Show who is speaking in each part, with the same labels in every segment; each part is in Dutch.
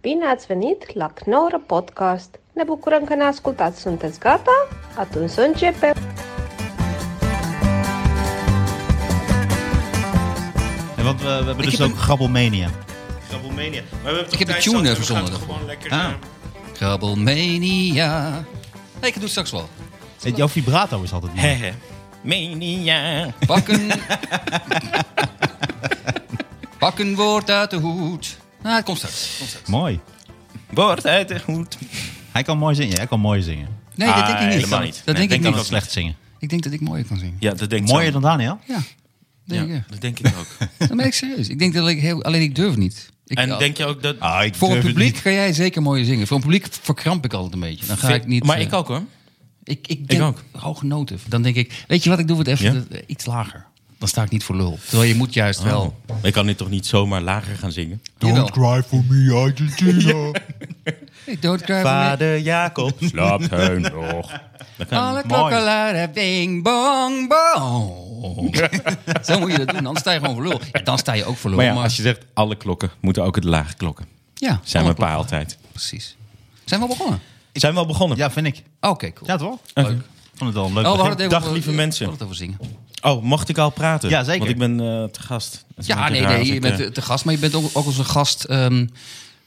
Speaker 1: Bine ați venit la Knorr Podcast! Ne bucurăm că ne ascultați! Sunteți gata? Atunci să începem!
Speaker 2: Ja, want we, we hebben dus
Speaker 3: heb
Speaker 2: ook Grabbelmania.
Speaker 4: Grabbelmania. Maar we hebben toch
Speaker 3: Ik heb de
Speaker 4: tijd
Speaker 3: tune
Speaker 4: zat,
Speaker 3: eh, even
Speaker 4: dus we gaan
Speaker 3: verzonnen
Speaker 4: toch Gewoon lekker,
Speaker 2: Ah.
Speaker 4: eh,
Speaker 3: Grabbelmania. Hey, ik doe het straks wel.
Speaker 2: Het- Eh, Jouw vibrato is altijd mooi.
Speaker 4: hè, hè. Mania.
Speaker 3: Bakken. Bakken woord uit de hoed. Ah, het komt straks. Komt straks.
Speaker 2: Mooi.
Speaker 4: Wordt uit de hoed.
Speaker 2: Hij kan mooi zingen. Hij kan mooi zingen.
Speaker 3: Nee, dat denk ik
Speaker 4: Ah,
Speaker 3: niet.
Speaker 4: helemaal niet.
Speaker 3: Dat
Speaker 4: Nee,
Speaker 3: denk
Speaker 4: denk
Speaker 3: ik
Speaker 2: Hij
Speaker 4: dat
Speaker 3: niet.
Speaker 2: kan
Speaker 4: ook
Speaker 2: slecht zingen.
Speaker 3: Ik denk dat ik mooier kan zingen.
Speaker 4: Ja, dat denk ik
Speaker 2: Mooier
Speaker 4: zo.
Speaker 2: dan Daniel?
Speaker 3: Ja, denk
Speaker 4: Ja,
Speaker 3: ik.
Speaker 4: dat denk ik ook.
Speaker 3: ja. Dat ben ik serieus. Ik denk dat ik heel... Alleen ik durf niet. Ik,
Speaker 4: en denk je ook dat...
Speaker 2: Ah, ik
Speaker 3: voor een
Speaker 2: durf het
Speaker 3: publiek
Speaker 2: niet.
Speaker 3: kan jij zeker mooier zingen. Voor een publiek verkramp ik altijd een beetje. Dan ga ik niet...
Speaker 4: maar
Speaker 3: eh,
Speaker 4: ik ook hoor.
Speaker 3: Ik, ik, denk,
Speaker 4: ook.
Speaker 3: Hoge noten. Dan denk ik, weet je wat, ik doe het even
Speaker 4: Ja? Oh.
Speaker 3: eh, iets lager. Dan sta ik niet voor lul. Terwijl je moet juist wel...
Speaker 4: Ik kan nu toch niet zomaar lager gaan zingen?
Speaker 3: Jawel.
Speaker 5: Don't cry for me, Argentina.
Speaker 3: Ik dood
Speaker 4: Vader Jacob slaapt hij nog. Dat kan
Speaker 3: Alle
Speaker 4: niet.
Speaker 3: klokken luiden, bing, bong, bong. Zo moet je dat doen, dan sta je gewoon voor lul. Ja, dan sta je ook voor lul.
Speaker 4: Maar ja, als je zegt alle klokken, moeten ook het lage klokken.
Speaker 3: ja,
Speaker 4: Zijn
Speaker 3: alle
Speaker 4: mijn pa
Speaker 3: klokken.
Speaker 4: altijd.
Speaker 3: Precies. Zijn we al begonnen?
Speaker 4: Zijn we al begonnen?
Speaker 2: Ja, vind ik.
Speaker 3: Oh, Oké, cool.
Speaker 2: Ja, toch?
Speaker 4: Oké.
Speaker 2: Ik vond het wel een leuk
Speaker 3: Oh, we
Speaker 2: begin.
Speaker 3: hadden het even
Speaker 4: Dag,
Speaker 3: over-
Speaker 4: lieve
Speaker 3: we
Speaker 4: mensen.
Speaker 3: hadden het over zingen.
Speaker 4: Oh, mocht ik al praten?
Speaker 2: Ja, zeker.
Speaker 4: Want ik ben eh, te gast. Dat is een
Speaker 3: Ja,
Speaker 4: beetje
Speaker 3: nee,
Speaker 4: raar als
Speaker 3: nee, je
Speaker 4: ik,
Speaker 3: bent
Speaker 4: eh,
Speaker 3: eh, te gast, maar je bent ook, ook onze gast... ehm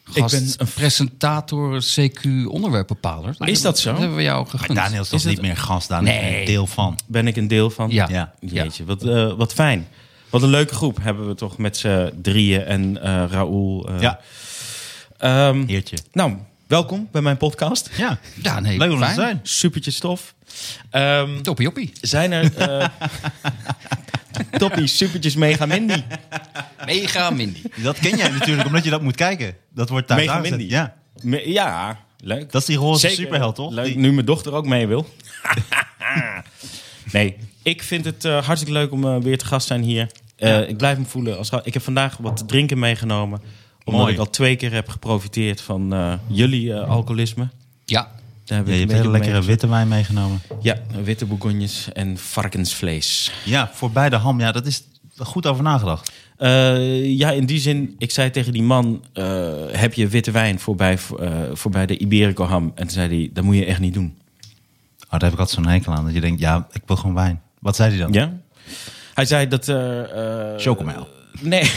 Speaker 3: gast
Speaker 4: ben een-
Speaker 3: presentator, CQ, onderwerpbepaler.
Speaker 4: Is dat zo?
Speaker 3: Dat hebben we jou gegund.
Speaker 2: Daniel is toch niet meer gast. Daniel is
Speaker 3: Nee.
Speaker 2: een deel van.
Speaker 4: ben ik een deel van.
Speaker 3: Ja.
Speaker 2: Ja.
Speaker 4: Jeetje, wat, eh, wat fijn. Wat een leuke groep hebben we toch met z'n drieën en eh Raoul. eh,
Speaker 2: Ja,
Speaker 4: ehm,
Speaker 2: heertje.
Speaker 4: nou, welkom bij mijn podcast.
Speaker 2: Ja.
Speaker 3: Ja, nee.
Speaker 2: Leuk om er te
Speaker 3: fijn.
Speaker 2: zijn.
Speaker 4: Supertje stof. Ehm,
Speaker 3: Toppie, joppie.
Speaker 4: zijn er... eh toppie, supertjes, mega mindy.
Speaker 3: Mega Mindy.
Speaker 2: Dat ken jij natuurlijk, omdat je dat moet kijken. Dat wordt thuis
Speaker 4: Mega
Speaker 2: aangezet.
Speaker 4: Mindy.
Speaker 2: Ja.
Speaker 4: Me- ja, leuk.
Speaker 2: Dat is die roze
Speaker 4: Zeker.
Speaker 2: superheld, toch?
Speaker 4: Leuk,
Speaker 2: Die-
Speaker 4: nu mijn dochter ook mee wil. nee, ik vind het eh, hartstikke leuk om eh, weer te gast te zijn hier. Eh, Ik blijf me voelen als... ga- Ik heb vandaag wat te drinken meegenomen. Omdat
Speaker 2: Mooi.
Speaker 4: ik al twee keer heb geprofiteerd van eh, jullie eh, alcoholisme.
Speaker 3: Ja,
Speaker 4: Daar heb
Speaker 2: Ja, je eh,
Speaker 4: ik een
Speaker 2: hebt hele
Speaker 4: beetje
Speaker 2: lekkere
Speaker 4: mee-
Speaker 2: witte wijn meegenomen.
Speaker 4: Ja, witte bourgognes en varkensvlees.
Speaker 2: Ja, voor beide ham. Ja, dat is goed over nagedacht.
Speaker 4: Eh, ja, in die zin, ik zei tegen die man: eh, Heb je witte wijn voorbij, eh, voorbij de Iberico ham? En toen zei hij: Dat moet je echt niet doen.
Speaker 2: Oh, daar heb ik altijd zo'n hekel aan. Dat je denkt, ja, ik wil gewoon wijn. Wat zei hij dan?
Speaker 4: Ja? Hij zei dat. eh, eh,
Speaker 2: Chocomel.
Speaker 4: Nee.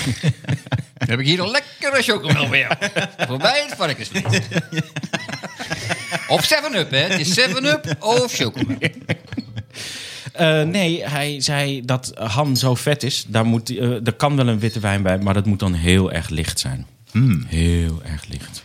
Speaker 3: Dan heb ik hier een lekkere chocomel weer. Voorbij het varkensvlees. Of 7-Up, hè. Het is 7-Up of chocomel.
Speaker 4: Eh, nee, hij zei dat ham zo vet is. Daar, moet, eh daar kan wel een witte wijn bij, maar dat moet dan heel erg licht zijn. Heel erg licht.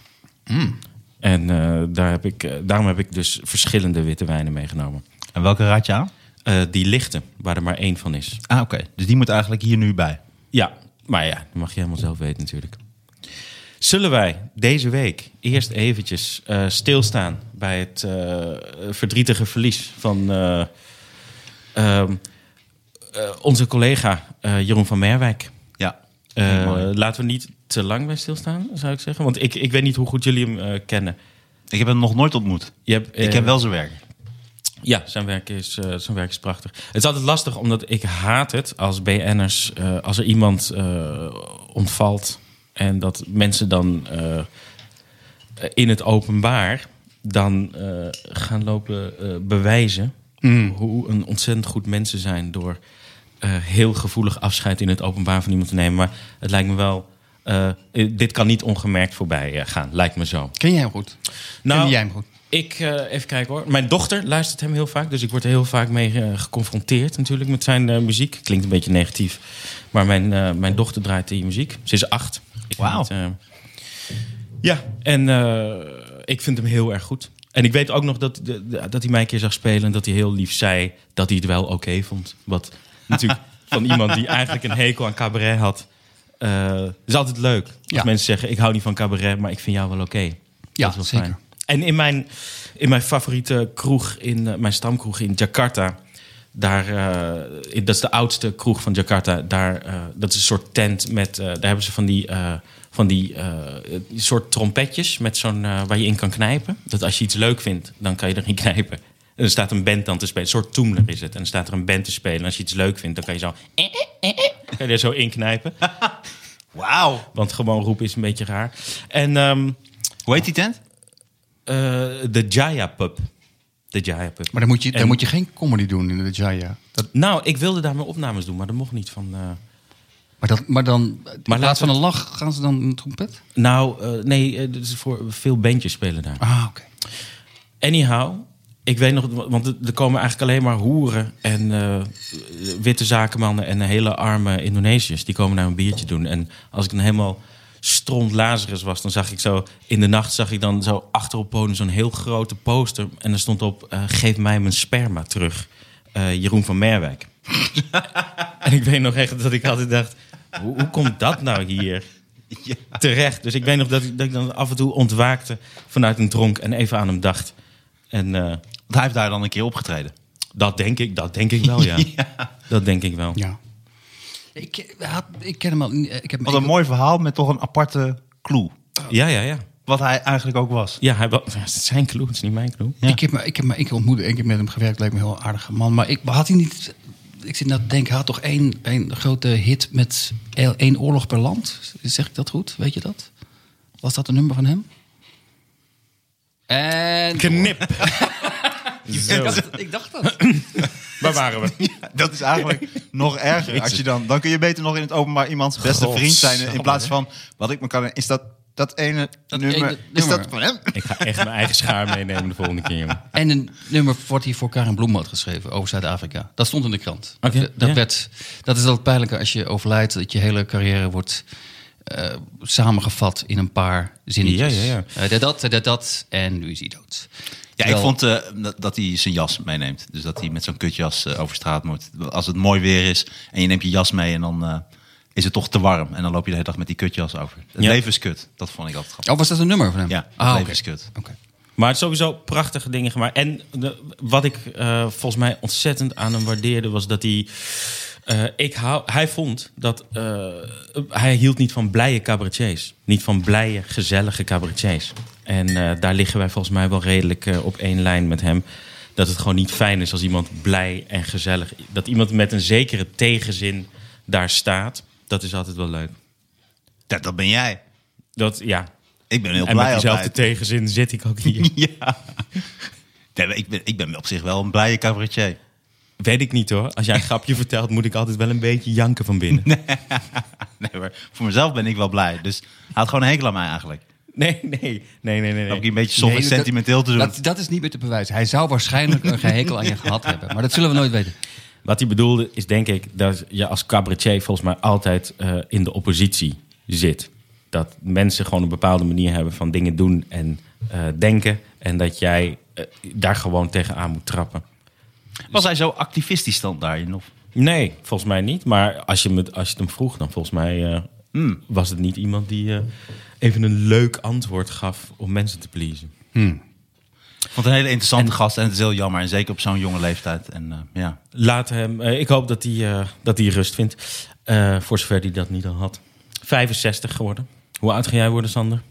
Speaker 4: En eh, daar heb ik, eh, daarom heb ik dus verschillende witte wijnen meegenomen.
Speaker 2: En welke raad je aan?
Speaker 4: Eh, die lichte, waar er maar één van is.
Speaker 2: Ah, oké. Dus die moet eigenlijk hier nu bij.
Speaker 4: Ja, maar ja, dat mag je helemaal zelf weten natuurlijk. Zullen wij deze week eerst eventjes eh, stilstaan bij het eh, verdrietige verlies van eh, ehm, eh, onze collega eh, Jeroen van Merwijk?
Speaker 2: Ja.
Speaker 4: Eh,
Speaker 2: Mooi.
Speaker 4: laten we niet te lang bij stilstaan, zou ik zeggen. Want ik, ik weet niet hoe goed jullie hem eh, kennen.
Speaker 2: Ik heb hem nog nooit ontmoet.
Speaker 4: Je hebt,
Speaker 2: ik
Speaker 4: eh,
Speaker 2: ken wel zijn werk.
Speaker 4: Ja, zijn werk, is, eh, zijn werk is prachtig. Het is altijd lastig, omdat ik haat het als BN'ers... eh, als er iemand eh, ontvalt en dat mensen dan eh, in het openbaar... dan eh, gaan lopen eh, bewijzen hoe een ontzettend goed mensen zijn... door eh, heel gevoelig afscheid in het openbaar van iemand te nemen. Maar het lijkt me wel... eh, dit kan niet ongemerkt voorbij eh, gaan, lijkt me zo.
Speaker 3: Ken jij hem goed? Ken jij hem goed?
Speaker 4: Nou, Ik, eh, even kijken hoor. Mijn dochter luistert hem heel vaak. Dus ik word er heel vaak mee eh, geconfronteerd natuurlijk met zijn eh, muziek. Klinkt een beetje negatief. Maar mijn, eh, mijn dochter draait die muziek. Ze is acht. Ik
Speaker 2: Wauw.
Speaker 4: vind het, eh, ja, en eh, ik vind hem heel erg goed. En ik weet ook nog dat, de- de- dat hij mij een keer zag spelen... en dat hij heel lief zei dat hij het wel oké vond. Wat natuurlijk van iemand die eigenlijk een hekel aan cabaret had... eh, is altijd leuk als
Speaker 3: Ja.
Speaker 4: mensen zeggen... ik hou niet van cabaret, maar ik vind jou wel oké.
Speaker 3: Ja,
Speaker 4: Dat is wel
Speaker 3: zeker.
Speaker 4: fijn. En in mijn, in mijn favoriete kroeg, in eh, mijn stamkroeg in Jakarta. Daar, eh, in- dat is de oudste kroeg van Jakarta. Daar, eh, dat is een soort tent met. eh, daar hebben ze van die, eh, van die eh, een soort trompetjes met zo'n, eh, waar je in kan knijpen. Dat als je iets leuk vindt, dan kan je erin knijpen. En er staat een band dan te spelen. Een soort toemler is het. En er staat er een band te spelen. En als je iets leuk vindt, dan kan je zo. eh, eh, eh, eh, kan je er zo in knijpen.
Speaker 2: Wauw.
Speaker 4: Want gewoon roepen is een beetje raar. En ehm,
Speaker 2: Hoe heet die tent?
Speaker 4: Eh, de Jaya Pub. De Jaya Pub.
Speaker 3: Maar dan moet, je, dan
Speaker 4: En-
Speaker 3: moet je geen comedy doen in de Jaya. Dat,
Speaker 4: Nou, ik wilde daar mijn opnames doen, maar dat mocht niet van... eh,
Speaker 3: maar, dat, maar dan, in plaats
Speaker 4: laten
Speaker 3: van
Speaker 4: we-
Speaker 3: een lach, gaan ze dan een trompet?
Speaker 4: nou, eh, nee, eh, dit is voor veel bandjes spelen daar.
Speaker 3: Ah, oké.
Speaker 4: Anyhow, ik weet nog, want er komen eigenlijk alleen maar hoeren en eh, witte zakenmannen en hele arme Indonesiërs. Die komen nou een biertje doen. En als ik dan helemaal stront Lazarus was, dan zag ik zo in de nacht zag ik dan zo achter op podium zo'n heel grote poster en er stond op: eh, geef mij mijn sperma terug, Eh, Jeroen van Merwijk. en ik weet nog echt dat ik altijd dacht: hoe, hoe komt dat nou hier? terecht. Dus ik weet nog dat ik, dat ik dan af en toe ontwaakte vanuit een dronk en even aan hem dacht. En eh,
Speaker 2: Want hij heeft daar dan een keer opgetreden.
Speaker 4: dat denk ik, dat denk ik wel, ja. Dat denk ik wel.
Speaker 3: Ja. Ik, had, ik ken hem al. niet. Ik heb hem
Speaker 2: Wat een
Speaker 3: ik-
Speaker 2: mooi verhaal met toch een aparte clue.
Speaker 4: Ja, ja, ja.
Speaker 2: Wat hij eigenlijk ook was.
Speaker 4: Ja, hij, wa- ja, het is zijn clue, het is niet mijn clue.
Speaker 3: Ik heb, hem- ik heb hem één keer ontmoet, één keer met hem gewerkt. Lijkt me een heel aardige man. Maar ik had hij niet... Ik zit nou te denken, hij had toch één, één grote hit met één één oorlog per land? Zeg ik dat goed? Weet je dat? Was dat een nummer van hem? En...
Speaker 4: Knip.
Speaker 3: Ik dacht, ik dacht dat.
Speaker 4: Waar waren we?
Speaker 2: Dat is eigenlijk nog erger. Als je dan, dan kun je beter nog in het openbaar iemands beste vriend zijn. eh, In plaats van, wat ik me kan... Is dat dat ene nummer...
Speaker 3: ene
Speaker 2: is
Speaker 3: nummer.
Speaker 2: dat van hem?
Speaker 4: Ik ga echt mijn eigen schaar meenemen de volgende keer, jongen.
Speaker 3: En een nummer wordt hier voor Karin Bloem had geschreven over Zuid-Afrika. Dat stond in de krant.
Speaker 4: Oké,
Speaker 3: dat, dat
Speaker 4: ja.
Speaker 3: werd, dat is altijd pijnlijker als je overlijdt, dat je hele carrière wordt eh, samengevat in een paar zinnetjes.
Speaker 4: Ja, ja, ja.
Speaker 3: Eh, dat, dat, dat, dat, en nu is hij dood.
Speaker 2: Ja, ik
Speaker 3: Terwijl-
Speaker 2: vond eh, dat- dat hij zijn jas meeneemt. Dus dat hij met zo'n kutjas eh, over straat moet. Als het mooi weer is en je neemt je jas mee en dan eh, is het toch te warm. En dan loop je de hele dag met die kutjas over. Het
Speaker 4: Ja.
Speaker 2: leven is kut. Dat vond ik altijd grappig.
Speaker 3: Oh, was dat een nummer van hem?
Speaker 2: Ja, het
Speaker 3: ah,
Speaker 2: leven
Speaker 3: oké.
Speaker 2: is kut.
Speaker 3: Oké.
Speaker 4: Maar het is sowieso prachtige dingen gemaakt. En de- wat ik eh, volgens mij ontzettend aan hem waardeerde was dat hij. eh, ik hou, hij vond dat. eh, hij hield niet van blije cabaretiers. Niet van blije, gezellige cabaretiers. En eh, daar liggen wij volgens mij wel redelijk eh, op één lijn met hem. Dat het gewoon niet fijn is als iemand blij en gezellig. Dat iemand met een zekere tegenzin daar staat. Dat is altijd wel leuk.
Speaker 2: Dat, dat ben jij.
Speaker 4: Dat, ja.
Speaker 2: Ik ben heel
Speaker 4: En met
Speaker 2: blij
Speaker 4: diezelfde
Speaker 2: altijd.
Speaker 4: tegenzin zit ik ook hier.
Speaker 2: Ja. Nee, maar ik, ben, ik ben op zich wel een blije cabaretier.
Speaker 4: Weet ik niet hoor. Als jij een grapje vertelt, moet ik altijd wel een beetje janken van binnen. Nee,
Speaker 2: Nee, maar voor mezelf ben ik wel blij. Dus hij had gewoon een hekel aan mij eigenlijk.
Speaker 4: nee, nee, nee, nee. nee.
Speaker 2: Dan heb ik een beetje soms
Speaker 3: Nee, dat-
Speaker 2: sentimenteel te doen.
Speaker 3: Dat, dat is niet meer te bewijzen. Hij zou waarschijnlijk een gehekel aan je gehad hebben. Maar dat zullen we nooit weten.
Speaker 4: Wat hij bedoelde is denk ik dat je als cabaretier volgens mij altijd eh, in de oppositie zit. Dat mensen gewoon een bepaalde manier hebben van dingen doen en eh, denken. En dat jij eh, daar gewoon tegenaan moet trappen.
Speaker 2: Was hij zo activistisch dan daarin? Of?
Speaker 4: Nee, volgens mij niet. Maar als je, met, als je het hem vroeg, dan volgens mij eh, was het niet iemand die eh, even een leuk antwoord gaf om mensen te pleasen.
Speaker 2: Ik vond het een hele interessante gast en het is heel jammer. En zeker op zo'n jonge leeftijd. En eh, ja,
Speaker 4: Laat hem. eh, ik hoop dat hij, eh, dat hij rust vindt. Eh, voor zover hij dat niet al had. 65 geworden. Hoe oud ga jij worden, Sander?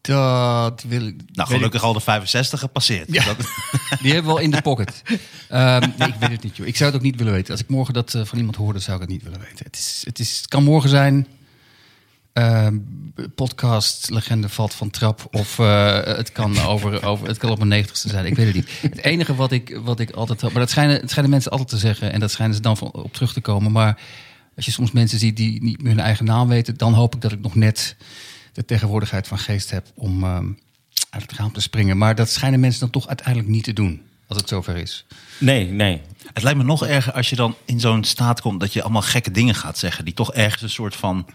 Speaker 3: Dat wil ik...
Speaker 2: nou gelukkig al de 65 gepasseerd.
Speaker 3: Ja.
Speaker 2: Dat-
Speaker 3: Die hebben we al in de pocket. Ehm, nee, ik weet het niet, joh. Ik zou het ook niet willen weten. Als ik morgen dat eh, van iemand hoorde, zou ik het niet willen weten. Het, is, het, is, het kan morgen zijn. ehm, podcast, legende valt van trap. Of eh, het, kan over, over, het kan op mijn negentigste zijn. Ik weet het niet. Het enige wat ik, wat ik altijd... Maar dat schijnen, het schijnen mensen altijd te zeggen. En dat schijnen ze dan van, op terug te komen. Maar als je soms mensen ziet die niet meer hun eigen naam weten... dan hoop ik dat ik nog net de tegenwoordigheid van geest heb... om ehm, uit het raam te springen. Maar dat schijnen mensen dan toch uiteindelijk niet te doen. Als het zover is.
Speaker 4: Nee, nee.
Speaker 2: Het lijkt me nog erger als je dan in zo'n staat komt dat je allemaal gekke dingen gaat zeggen. Die toch ergens een soort van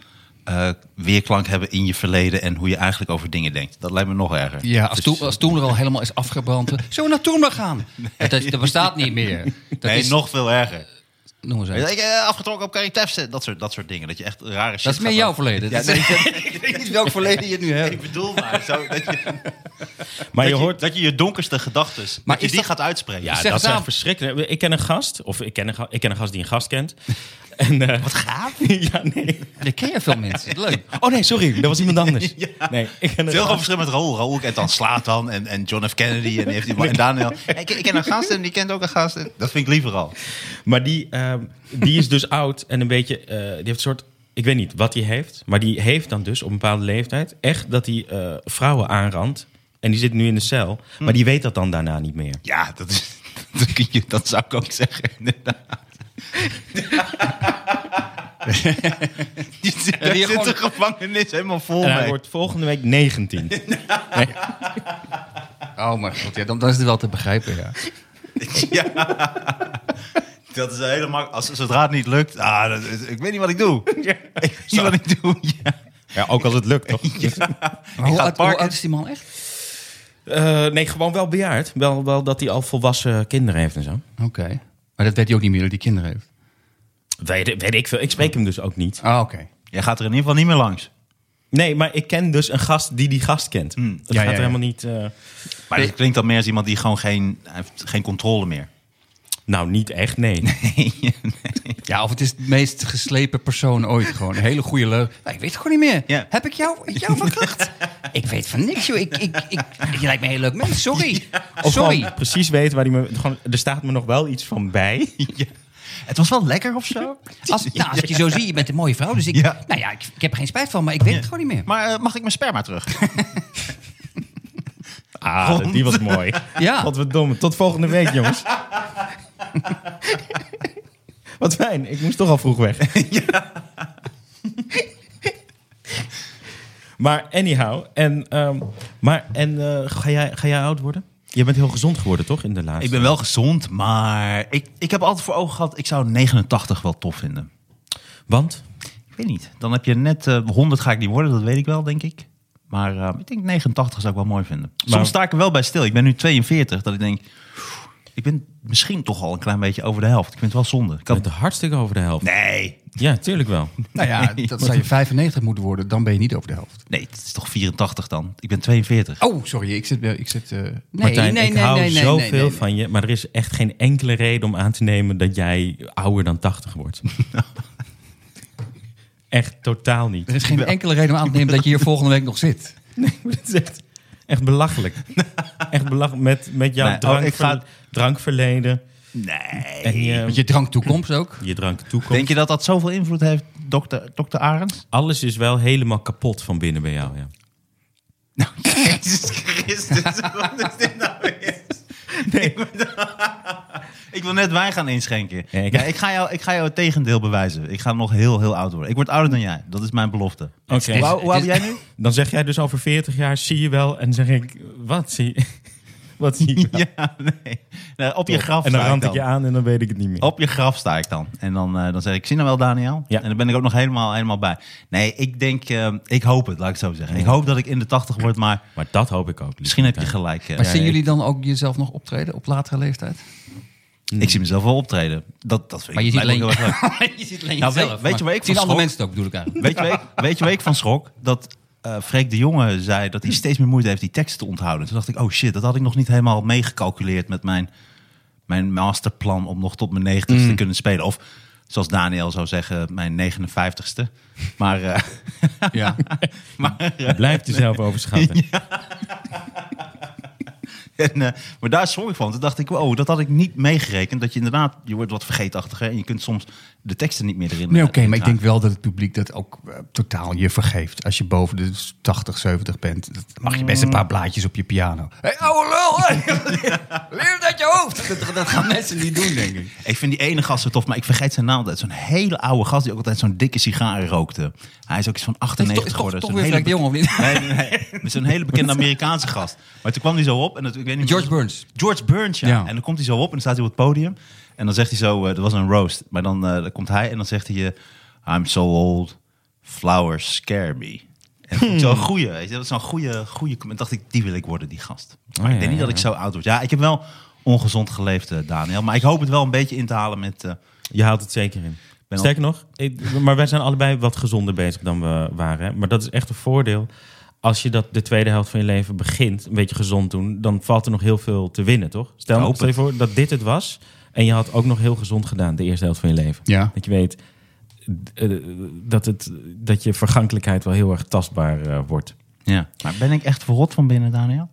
Speaker 2: eh, weerklank hebben in je verleden en hoe je eigenlijk over dingen denkt. Dat lijkt me nog erger.
Speaker 3: Ja, als, toen, als toen er al helemaal is afgebrand. eh, Zullen we naar toen maar gaan? Dat, dat bestaat niet meer. Dat
Speaker 2: Nee,
Speaker 3: is,
Speaker 2: nog veel erger.
Speaker 3: noem eens uit.
Speaker 2: Ik, eh, afgetrokken op Carrie Tefse, dat soort, dat soort dingen. Dat je echt rare shit
Speaker 3: Dat is meer
Speaker 2: gaat
Speaker 3: jouw
Speaker 2: doen.
Speaker 3: verleden.
Speaker 2: Ja,
Speaker 3: Dat is- ik weet niet welk verleden je nu hebt.
Speaker 2: Ik bedoel maar, zo, dat, je,
Speaker 4: Maar je
Speaker 2: dat,
Speaker 4: hoort.
Speaker 2: je, dat je je donkerste gedachtes, dat
Speaker 3: Maar
Speaker 2: je
Speaker 3: is
Speaker 2: die
Speaker 3: dat-
Speaker 2: gaat uitspreken.
Speaker 4: ja,
Speaker 3: zeg
Speaker 4: dat
Speaker 3: het
Speaker 4: is echt
Speaker 3: aan.
Speaker 4: verschrikkelijk. Ik ken een gast. Of ik ken een, ga- ik ken een gast die een gast kent. En, Wat gaaf? ja, nee.
Speaker 3: Dat ken je veel mensen. Leuk.
Speaker 4: Oh nee, sorry. Dat was iemand anders. Nee, ik ken een
Speaker 2: Het is heel
Speaker 4: gast.
Speaker 2: groot verschil met Raoul. Raoul kent dan Slatan en, en John F. Kennedy en, heeft die, en Daniel. Ik, ik ken een gast en die kent ook een gast. En dat vind ik liever al.
Speaker 4: Maar die, ehm, die is dus oud en een beetje. eh, die heeft een soort ik weet niet wat hij heeft, maar die heeft dan dus op een bepaalde leeftijd echt dat hij eh, vrouwen aanrandt. En die zit nu in de cel, maar die weet dat dan daarna niet meer.
Speaker 2: Ja, dat, is, dat, kun je, dat zou ik ook zeggen, inderdaad. die zit, daar
Speaker 3: die
Speaker 2: zit
Speaker 3: gewoon-
Speaker 2: de gevangenis helemaal vol
Speaker 4: En hij
Speaker 2: mee.
Speaker 4: wordt volgende week 19.
Speaker 3: Oh, maar god, ja, dan, dan is het wel te begrijpen, ja.
Speaker 2: Ja. Dat is helemaal... Als, zodra het niet lukt... Ah, dat is- ik weet niet wat ik doe. Ik weet niet wat ik doe. Ja.
Speaker 4: Ja, ook als het lukt, toch?
Speaker 3: Maar hoe
Speaker 2: ga
Speaker 3: oud, hoe
Speaker 2: parken.
Speaker 3: oud is die man echt?
Speaker 4: Eh, nee, gewoon wel bejaard. Wel, wel dat hij al volwassen kinderen heeft en zo.
Speaker 3: Oké. Maar dat weet hij ook niet meer dat hij kinderen heeft.
Speaker 4: Weet, weet ik veel. Ik spreek hem dus ook niet.
Speaker 3: Ah, oké.
Speaker 2: Jij gaat er in ieder geval niet meer langs.
Speaker 4: Nee, maar ik ken dus een gast die die gast kent. Dat
Speaker 3: Hmm. Ja,
Speaker 4: gaat
Speaker 3: ja,
Speaker 4: er
Speaker 3: ja.
Speaker 4: helemaal niet... eh,
Speaker 2: Maar dat klinkt dan meer als iemand die gewoon geen... Hij heeft geen controle meer.
Speaker 4: nou, niet echt, nee.
Speaker 3: Ja, of het is het meest geslepen persoon ooit gewoon. Een hele goede leuk. Nou, ik weet het gewoon niet meer.
Speaker 2: Ja.
Speaker 3: Heb ik jou, jou verkracht? ik weet van niks, joh. Ik, ik, ik, je lijkt me een heel leuk mens. Sorry.
Speaker 4: Of
Speaker 3: Sorry.
Speaker 4: gewoon precies weten waar hij me... Gewoon, er staat me nog wel iets van bij.
Speaker 2: Het was wel lekker of zo.
Speaker 3: Als, nou, als ik je zo zie, je bent een mooie vrouw. Dus ik,
Speaker 2: Ja.
Speaker 3: nou ja, ik, ik heb er geen spijt van, maar ik weet het gewoon niet meer.
Speaker 2: Maar eh, mag ik mijn sperma terug?
Speaker 4: Ah, die was mooi.
Speaker 3: Ja.
Speaker 4: Wat we dom. Tot volgende week, jongens. Wat fijn. Ik moest toch al vroeg weg. maar anyhow. En, ehm, maar, en eh, ga, jij, ga jij oud worden? Je bent heel gezond geworden, toch? In de laatste.
Speaker 2: Ik ben wel gezond, maar ik, ik heb altijd voor ogen gehad... Ik zou 89 wel tof vinden.
Speaker 4: Want?
Speaker 2: Ik weet niet. Dan heb je net... eh, 100 ga ik niet worden, dat weet ik wel, denk ik. Maar eh, ik denk 89 zou ik wel mooi vinden.
Speaker 4: Maar-
Speaker 2: Soms sta ik er wel bij stil. Ik ben nu 42, dat ik denk... "Oef, Ik ben misschien toch al een klein beetje over de helft. Ik vind het wel zonde. Ik
Speaker 4: Je
Speaker 2: had-
Speaker 4: bent er hartstikke over de helft.
Speaker 2: Nee.
Speaker 4: Ja, tuurlijk wel.
Speaker 3: Nou ja, dat zou je 95 moeten worden, dan ben je niet over de helft.
Speaker 2: Nee, het is toch 84 dan? Ik ben 42.
Speaker 3: Oh, sorry, ik zit... Ik zit eh, nee,
Speaker 4: Martijn,
Speaker 3: nee,
Speaker 4: ik
Speaker 3: nee,
Speaker 4: hou
Speaker 3: nee, nee,
Speaker 4: zoveel
Speaker 3: nee, nee, nee.
Speaker 4: van je. Maar er is echt geen enkele reden om aan te nemen dat jij ouder dan 80 wordt. echt totaal niet.
Speaker 3: Er is geen enkele reden om aan te nemen dat je hier volgende week nog zit.
Speaker 4: Dat is echt, echt belachelijk. echt belachelijk met, met jouw
Speaker 2: Nee, oh,
Speaker 4: drankver-
Speaker 2: ik ga-
Speaker 4: drankverleden
Speaker 2: Nee.
Speaker 4: en je,
Speaker 3: Want je drank toekomst ook.
Speaker 4: je drank toekomst.
Speaker 2: Denk je dat dat zoveel invloed heeft, dokter, dokter Arends?
Speaker 4: Alles is wel helemaal kapot van binnen bij jou. Ja.
Speaker 2: Nou, Jezus Christus, wat is dit nou weer? Ik, ben- ik wil net wijn gaan inschenken.
Speaker 4: Ja, ik-
Speaker 2: Ja, ik, ga jou, ik ga jou het tegendeel bewijzen. Ik ga nog heel, heel oud worden. Ik word ouder dan jij. Dat is mijn belofte.
Speaker 4: Oké.
Speaker 2: Hoe oud hoe oud ben jij nu?
Speaker 4: Dan zeg jij dus over 40 jaar zie je wel. En dan zeg ik, wat zie je? Wat zie je wel?
Speaker 2: Ja, nee. Nou, op je graf
Speaker 4: En
Speaker 2: sta
Speaker 4: dan
Speaker 2: ik
Speaker 4: rand ik
Speaker 2: dan. Oh.
Speaker 4: je aan en dan weet ik het niet meer.
Speaker 2: Op je graf sta ik dan. En dan, eh, dan zeg ik, zie je nou wel, Daniel?
Speaker 4: Ja.
Speaker 2: En dan ben ik ook nog helemaal, helemaal bij. Nee, ik denk, eh, ik hoop het, laat ik het zo zeggen. Ik hoop dat ik in de 80 word, maar
Speaker 4: Maar dat hoop ik ook.
Speaker 2: misschien heb je
Speaker 4: Martijn.
Speaker 2: gelijk. eh.
Speaker 3: Maar zien jullie dan ook jezelf nog optreden op latere leeftijd?
Speaker 2: Ik zie mezelf wel optreden. Dat, dat vind
Speaker 3: Maar je
Speaker 2: ik
Speaker 3: ziet
Speaker 2: lijkt me
Speaker 3: alleen,
Speaker 2: heel erg leuk.
Speaker 3: je ziet alleen
Speaker 2: Nou, weet-
Speaker 3: jezelf.
Speaker 2: weet je waar ik
Speaker 3: zien
Speaker 2: van
Speaker 3: andere
Speaker 2: schrok?
Speaker 3: mensen het ook, bedoel ik eigenlijk.
Speaker 2: Weet je, waar ik, weet je waar ik van schrok? Dat eh Freek de Jonge zei dat hij steeds meer moeite heeft die teksten te onthouden. Toen dacht ik, oh shit, dat had ik nog niet helemaal meegecalculeerd met mijn, mijn masterplan om nog tot mijn 90ste te
Speaker 3: Mm.
Speaker 2: kunnen spelen. Of zoals Daniel zou zeggen, mijn 59ste. Maar, eh,
Speaker 3: Ja.
Speaker 2: maar, eh,
Speaker 4: Blijf jezelf overschatten.
Speaker 2: en, eh, maar daar schrok ik van. Toen dacht ik, oh, dat had ik niet meegerekend. Dat je inderdaad, je wordt wat vergeetachtiger en je kunt soms de teksten niet meer erin.
Speaker 3: Nee, oké,
Speaker 2: eh,
Speaker 3: maar ik
Speaker 2: dragen.
Speaker 3: denk wel dat het publiek dat ook eh, totaal je vergeeft. Als je boven de 80, 70 bent, dat mag je best een paar blaadjes op je piano. Hé, hey, ouwe lul! Leer het uit je hoofd! Dat, dat gaan mensen niet doen, denk ik.
Speaker 2: Ik vind die ene gast zo tof, maar ik vergeet zijn naam altijd. Zo'n hele oude gast die ook altijd zo'n dikke sigaar rookte. Hij is ook iets van
Speaker 3: Dat is
Speaker 2: 98
Speaker 3: toch, is toch,
Speaker 2: geworden.
Speaker 3: toch
Speaker 2: Zo'n
Speaker 3: weer Frank de
Speaker 2: hele
Speaker 3: Jong, of niet?
Speaker 2: Nee, nee, nee. Met zo'n hele bekende Amerikaanse gast. Maar toen kwam hij zo op. En dat, ik weet niet
Speaker 3: George Burns.
Speaker 2: George Burns, ja.
Speaker 3: Ja.
Speaker 2: En dan komt hij zo op en dan staat hij op het podium. En dan zegt hij zo, eh, dat was een roast. Maar dan, eh, dan komt hij en dan zegt hij, eh, I'm so old, flowers scare me. En dat vond ik zo'n goeie, weet je. Dat is zo'n goeie, goeie. En dacht ik, die wil ik worden, die gast. Maar
Speaker 4: Oh,
Speaker 2: ik
Speaker 4: ja,
Speaker 2: denk niet dat
Speaker 4: ja,
Speaker 2: ik zo oud word. Ja, ik heb wel ongezond geleefd, eh, Daniel. Maar ik hoop het wel een beetje in te halen met... eh,
Speaker 4: Je haalt het zeker in.
Speaker 2: Ben al-
Speaker 4: Sterker nog, ik- maar wij zijn allebei wat gezonder bezig dan we waren. hè. Maar dat is echt een voordeel. Als je dat de tweede helft van je leven begint, een beetje gezond doen, dan valt er nog heel veel te winnen, toch?
Speaker 2: Ik
Speaker 4: Stel,
Speaker 2: hoop
Speaker 4: stel je voor dat dit het was en je had ook nog heel gezond gedaan de eerste helft van je leven.
Speaker 3: Ja.
Speaker 4: Dat je weet eh, dat, het, dat je vergankelijkheid wel heel erg tastbaar eh, wordt.
Speaker 2: ja. Maar ben ik echt verrot van binnen, Daniel?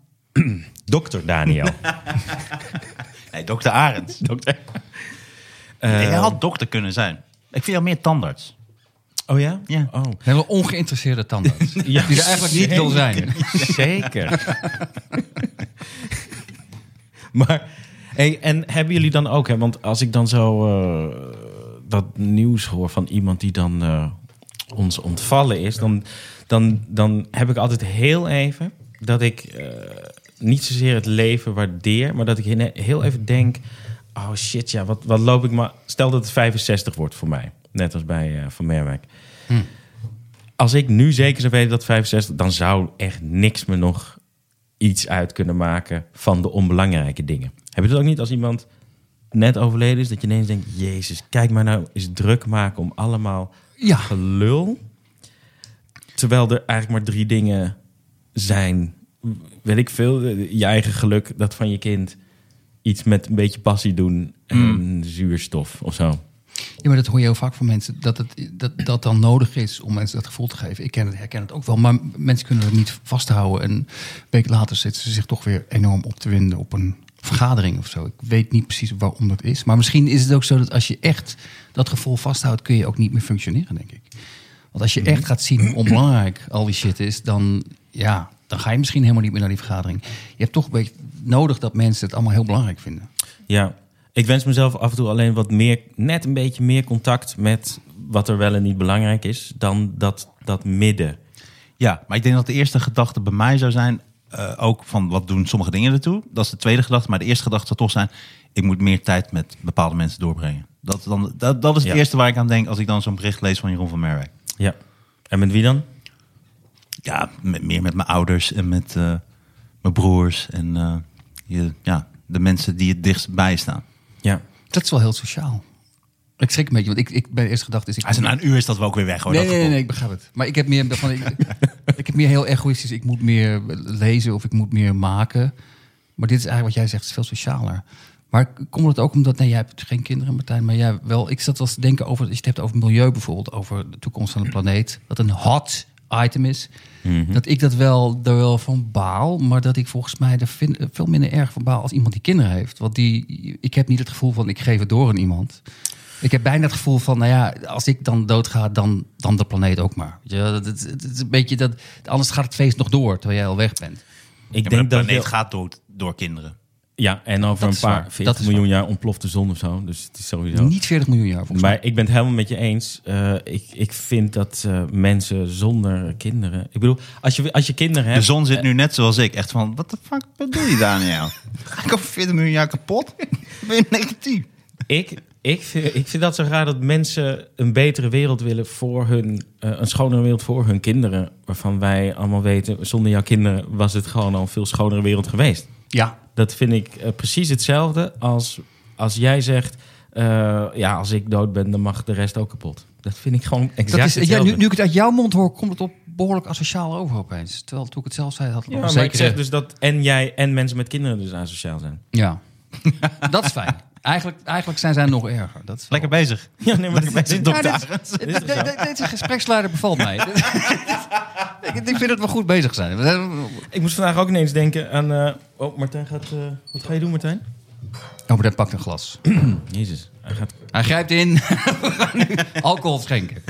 Speaker 4: Dokter Daniel.
Speaker 2: Nee, dokter Arends. Eh,
Speaker 4: Dokter.
Speaker 2: Jij had dokter kunnen zijn. Ik vind jou meer tandarts.
Speaker 4: Oh ja?
Speaker 2: Ja.
Speaker 4: Oh.
Speaker 3: Een hele ongeïnteresseerde tandarts. Die er eigenlijk niet wil zijn.
Speaker 4: Zeker. maar, hey, en hebben jullie dan ook, hè, want als ik dan zo eh, dat nieuws hoor van iemand die dan eh, ons ontvallen is, dan, dan, dan heb ik altijd heel even dat ik eh, niet zozeer het leven waardeer, maar dat ik in- heel even denk: oh shit, ja, wat, wat loop ik maar. Stel dat het 65 wordt voor mij, net als bij eh, Van Merwijk als ik nu zeker zou weten dat 65, dan zou echt niks me nog iets uit kunnen maken van de onbelangrijke dingen. Heb je dat ook niet als iemand net overleden is, dat je ineens denkt, jezus, kijk maar nou eens druk maken om allemaal
Speaker 3: Ja.
Speaker 4: gelul. Terwijl er eigenlijk maar drie dingen zijn, weet ik veel, je eigen geluk, dat van je kind, iets met een beetje passie doen en zuurstof of zo.
Speaker 3: Ja, maar dat hoor je heel vaak van mensen. Dat, het, dat dat dan nodig is om mensen dat gevoel te geven. Ik ken het, herken het ook wel. Maar mensen kunnen het niet vasthouden. En een week later zitten ze zich toch weer enorm op te winden op een vergadering of zo. Ik weet niet precies waarom dat is. Maar misschien is het ook zo dat als je echt dat gevoel vasthoudt... kun je ook niet meer functioneren, denk ik. Want als je echt gaat zien hoe onbelangrijk al die shit is... dan, ja, dan ga je misschien helemaal niet meer naar die vergadering. Je hebt toch een beetje nodig dat mensen het allemaal heel belangrijk vinden.
Speaker 4: Ja, ik wens mezelf af en toe alleen wat meer, net een beetje meer contact met wat er wel en niet belangrijk is, dan dat, dat midden.
Speaker 2: Ja, maar ik denk dat de eerste gedachte bij mij zou zijn... eh, ook van wat doen sommige dingen ertoe. Dat is de tweede gedachte. Maar de eerste gedachte zou toch zijn... ik moet meer tijd met bepaalde mensen doorbrengen. Dat, is dan, dat, dat is het
Speaker 4: Ja.
Speaker 2: eerste waar ik aan denk... als ik dan zo'n bericht lees van Jeroen van Merwijk.
Speaker 4: Ja. En met wie dan?
Speaker 2: Ja, met, meer met mijn ouders en met eh, mijn broers. En eh, je, ja, de mensen die het dichtst bij staan.
Speaker 4: Ja.
Speaker 3: Dat is wel heel sociaal. Ik schrik een beetje, want ik, ik ben eerst gedacht is... Ik
Speaker 2: Hij zei, na een uur is dat wel ook weer weg. Hoor,
Speaker 3: nee,
Speaker 2: dat
Speaker 3: nee, nee,
Speaker 2: gevoel.
Speaker 3: nee, ik begrijp het. Maar ik heb meer, van, ik, ik heb meer heel egoïstisch. Ik moet meer lezen of ik moet meer maken. Maar dit is eigenlijk wat jij zegt, is veel socialer. Maar komt het ook omdat, nee, jij hebt geen kinderen, Martijn, maar jij wel. Ik zat wel eens te denken over, als je het hebt over milieu bijvoorbeeld, over de toekomst van de planeet, dat een hot item is. Dat ik dat wel, daar wel van baal, maar dat ik volgens mij er vin- veel minder erg van baal als iemand die kinderen heeft. Want die, ik heb niet het gevoel van, ik geef het door aan iemand. Ik heb bijna het gevoel van, nou ja, als ik dan doodga, dan, dan de planeet ook maar. Weet je wel, dat, dat, dat- dat is een beetje dat, anders gaat het feest nog door, terwijl jij al weg bent.
Speaker 4: Ik
Speaker 2: Ja, maar
Speaker 4: denk
Speaker 2: de
Speaker 4: dat.
Speaker 2: planeet
Speaker 4: we-
Speaker 2: gaat door, door kinderen.
Speaker 4: Ja, en over
Speaker 3: Dat
Speaker 4: een
Speaker 3: is
Speaker 4: paar
Speaker 3: waar.
Speaker 4: 40
Speaker 3: Dat is
Speaker 4: miljoen jaar ontploft de zon of zo. Dus het is sowieso.
Speaker 3: Niet 40 miljoen jaar volgens mij.
Speaker 4: Maar ik ben het helemaal met je eens. Eh, ik, ik vind dat eh, mensen zonder kinderen. Ik bedoel, als je, als je kinderen
Speaker 2: De
Speaker 4: hebt.
Speaker 2: zon zit nu net zoals ik. Echt van, wat de fuck bedoel je, Daniel? Ga ik over 40 miljoen jaar kapot? Ben je negatief?
Speaker 4: Ik, ik, vind, ik vind dat zo raar dat mensen een betere wereld willen voor hun... eh, een schonere wereld voor hun kinderen. Waarvan wij allemaal weten, zonder jouw kinderen was het gewoon al een veel schonere wereld geweest.
Speaker 3: Ja,
Speaker 4: Dat vind ik eh, precies hetzelfde als als jij zegt... eh, ja, als ik dood ben, dan mag de rest ook kapot. Dat vind ik gewoon exact
Speaker 3: dat is, ja
Speaker 4: hetzelfde.
Speaker 3: nu, nu ik het uit jouw mond hoor, komt het op behoorlijk asociaal over opeens. Terwijl toen ik het zelf zei, had het
Speaker 4: Ja,
Speaker 3: nog
Speaker 4: maar
Speaker 3: een
Speaker 4: ik
Speaker 3: zekere-
Speaker 4: zeg dus dat en jij en mensen met kinderen dus asociaal zijn.
Speaker 3: Ja, dat is fijn. Eigenlijk, eigenlijk zijn zij nog erger. Dat is wel-
Speaker 2: Lekker bezig.
Speaker 4: Ja, nee, maar dat-
Speaker 2: bezig,
Speaker 4: dit-
Speaker 2: dokter.
Speaker 3: Ja, dit-
Speaker 4: Dit is toch zo?
Speaker 3: dit- dit- Deze gespreksleider bevalt mij. ik, ik vind het wel goed bezig zijn.
Speaker 4: Ik moest vandaag ook ineens denken aan... eh, oh, Martijn gaat... eh, wat ga je doen, Martijn?
Speaker 3: Oh, maar dat pakt een glas.
Speaker 4: Jezus, hij gaat
Speaker 3: Hij grijpt in. Alcohol schenken.